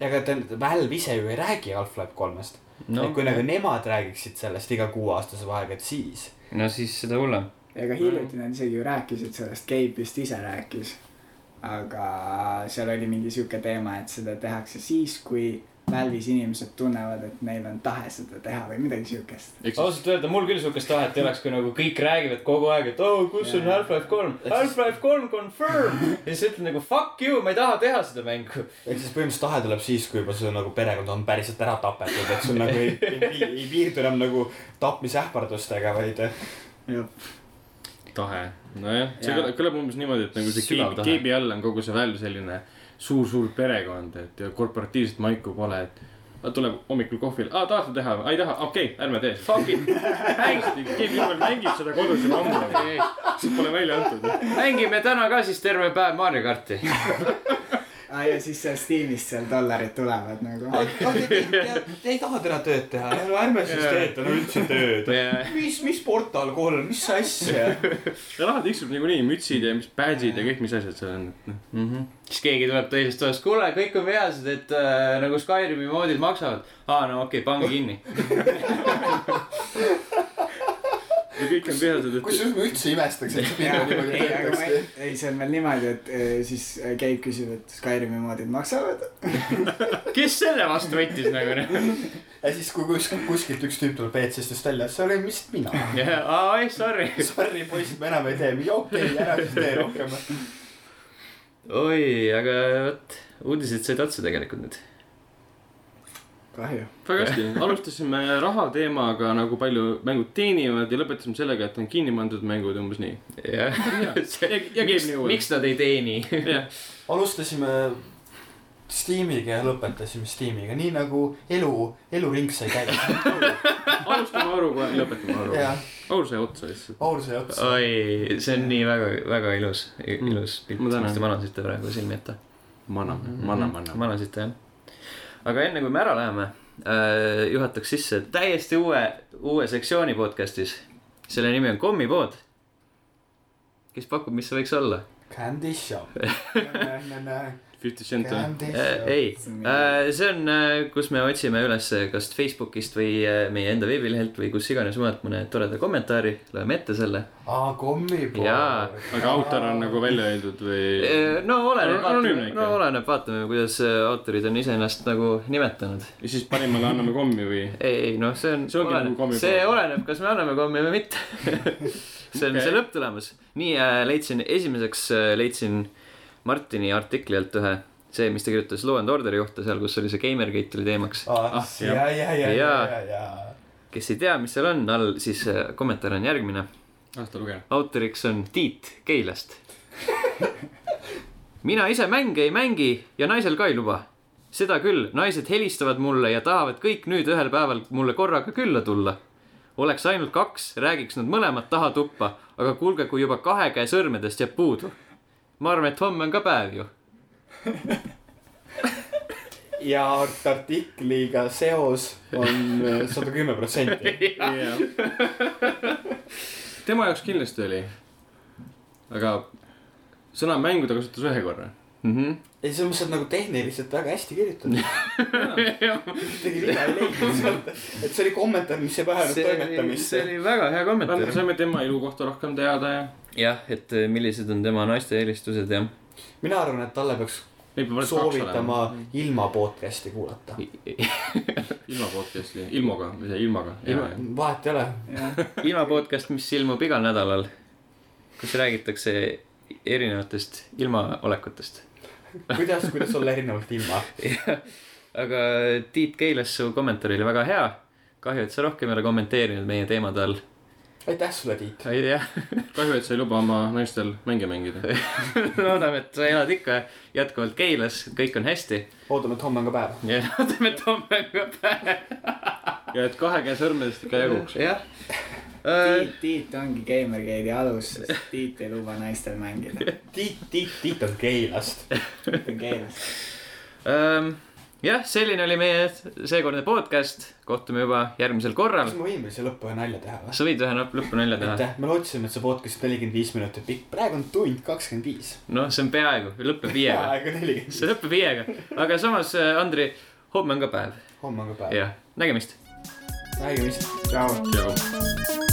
ega ta , Valve ise ju ei räägi Half-Life kolmest no, .
no
et kui nagu nemad räägiksid sellest iga kuueaastase vahega , et siis .
no siis seda hullem .
ega hiljuti nad isegi ju rääkisid sellest , Gabe vist ise rääkis . aga seal oli mingi sihuke teema , et seda tehakse siis , kui välvis inimesed tunnevad , et neil on tahe seda teha või midagi siukest .
ehk siis
ausalt öelda , mul küll siukest tahet ei oleks , kui nagu kõik räägivad kogu aeg , et oo oh, , kus on
Jaa.
Half-Life kolm , Half-Life kolm confirm ja siis ütled nagu fuck you , ma ei taha teha seda mängu .
ehk siis põhimõtteliselt tahe tuleb siis , kui juba su nagu perekond on päriselt ära tapetud , et sul nagu ei, ei, pi- ei piirdu enam nagu tapmisähvardustega , vaid .
tahe .
nojah , see
Jaa.
kõla- kõlab umbes niimoodi , et nagu see
Sügav
keebi ,
tahe.
keebi all on kogu see välv selline suur-suur perekond , et ja korporatiivset maiku pole , et aga tuleb hommikul kohvil , aa tahate teha või , ei taha , okei okay, , ärme tee , fuck it , hästi , keegi juba mängib seda kodus juba ammu , see pole välja antud .
mängime täna ka siis terve päev Mario karti .
aa Ah, ja siis seal Steamist seal dollarid tulevad nagu .
[laughs]
ei taha täna tööd teha , no ärme siis tööta , no üldse tööd . mis , mis Portal kolm , mis asja ?
ja raha tiksub niikuinii , mütsid ja mis badge'id ja kõik , mis asjad seal on , et noh ,
siis keegi tuleb teisest toast , kuule , kõik on veased , et äh, nagu Skyrimi moodid maksavad . aa , no okei okay, , pange kinni .
ja kõik on vihased , et
[laughs] kusjuures ma üldse ei imestaks , et see
ei ,
pigem niimoodi
aga ma ei
töötaks .,
ei see on veel niimoodi , et eh, siis Keit küsib , et Skyrimi moodid maksavad .
kes selle vastu võttis nagu noh ?
ja siis , kui kus, kuskilt üks tüüp tuleb WC-stest välja , siis olen vist mina .
aa , ei sorry .
Sorry , poisid , me enam ei tee , okei okay, , ära siis tee rohkem .
oi , aga vot , uudised said otsa tegelikult nüüd .
kahju .
väga hästi , alustasime raha teemaga nagu palju mängud teenivad ja lõpetasime sellega , et on kinni pandud mängud umbes nii .
jah .
ja , ja keegi nii uuesti .
miks nad ei teeni ?
jah ,
alustasime Steamiga ja lõpetasime Steamiga , nii nagu elu , eluring sai täis .
alustame Aruga ja lõpetame Aruga
jah ,
Aur sai otsa lihtsalt .
Aur sai otsa .
oi , see on nii väga , väga ilus , ilus pilt ,
Mm. Ma tänan.
mis te manasite praegu silmi ette .
maname , maname , maname .
manasite jah . aga enne kui me ära läheme , juhataks sisse täiesti uue , uue sektsiooni podcast'is . selle nimi on kommipood . kes pakub , mis see võiks olla ?
Candy shop .
Fifty Cent või ?
Candy shop .
Äh, ei ,
See on minu-
see on , kus me otsime üles kas Facebookist või äh, meie enda veebilehelt või kus iganes mujalt mõne toreda kommentaari , loeme ette selle .
aa , kommipood .
Jaa.
aga autor on nagu välja öeldud või ?
no oleneb ,
Anonüümne ikka.
no oleneb , vaatame , kuidas äh, autorid on iseennast nagu nimetanud .
ja siis parimale anname kommi või ?
ei , ei noh , see on ,
See ongi nagu kommipood.
see oleneb , kas me anname kommi või mitte . [laughs] see on okay. see
Okei.
lõpptulemus . nii äh, leidsin , esimeseks äh, leidsin Martini artikli alt ühe , see , mis ta kirjutas Law and Orderi kohta seal , kus oli see Gamergate oli teemaks .
ah
Ah, , jah.
ja , ja , ja ,
Jaa.
ja , ja .
kes ei tea , mis seal on all , siis äh, kommentaar on järgmine .
aasta lugeja .
autoriks on Tiit Keilast . mina ise mänge ei mängi ja naisel ka ei luba . seda küll , naised helistavad mulle ja tahavad kõik nüüd ühel päeval mulle korraga külla tulla . oleks ainult kaks , räägiks nad mõlemad taha tuppa , aga kuulge , kui juba kahe käe sõrmedest jääb puudu . ma arvan , et homme on ka päev ju .
ja artikliga seos on
[laughs]
sada kümme protsenti .
tema jaoks kindlasti oli . aga sõna mängu ta kasutas ühe korra .
Mhm.
ei , selles mõttes , et nagu tehniliselt väga hästi
[laughs]
kirjutatud .
ühtegi viga ei
[laughs]
leidnud sealt , et see oli kommentaar , mis ei vajanud toimetamist .
oli väga hea
me . saime tema elu kohta rohkem teada ja .
jah , et eh, millised on tema naiste eelistused ja [laughs]
mina arvan , et talle peaks
ei , peab alles kaks olema .
soovitama ilma podcast'i kuulata .
ilma podcast'i , ilmaga või see ilmaga .
Ilma-
vahet ei ole ,
ilma podcast , mis ilmub igal nädalal , kus räägitakse erinevatest ilmaolekutest .
kuidas , kuidas olla erinevalt ilma .
aga Tiit Keilas , su kommentaar oli väga hea . kahju , et sa rohkem ei ole kommenteerinud meie teemade all .
aitäh sulle , Tiit .
ei tea ,
kahju , et sa ei luba oma naistel mänge mängida .
[laughs] loodame , et sa elad ikka jätkuvalt Keilas , kõik on hästi .
ootame , et homme on ka päev .
ja loodame , et homme on ka päev .
ja et kahe käe sõrmedest ikka jaguks .
jah .
Tiit , Tiit ongi Gamergate'i alus , sest Tiit ei luba naistel mängida .
Tiit , Tiit , Tiit on Keilast .
Tiit on keeles .
Ehm, jah , selline oli meie seekordne podcast , kohtume juba järgmisel korral
kas . me võime siia lõppu ühe nalja teha või ?
sa võid ühe lõp- lõppu nalja teha ?
aitäh , me lootsime , et see podcast on nelikümmend viis minutit pikk , praegu on tund kakskümmend viis .
noh , see on peaaegu , lõpeb viiega .
aega nelikümmend ,
see lõpeb viiega , aga samas äh, Andri , homme on ka päev ,
homme on ka päev .
jah , nägemist .
nägemist .
tšau .
jagu .
tšau .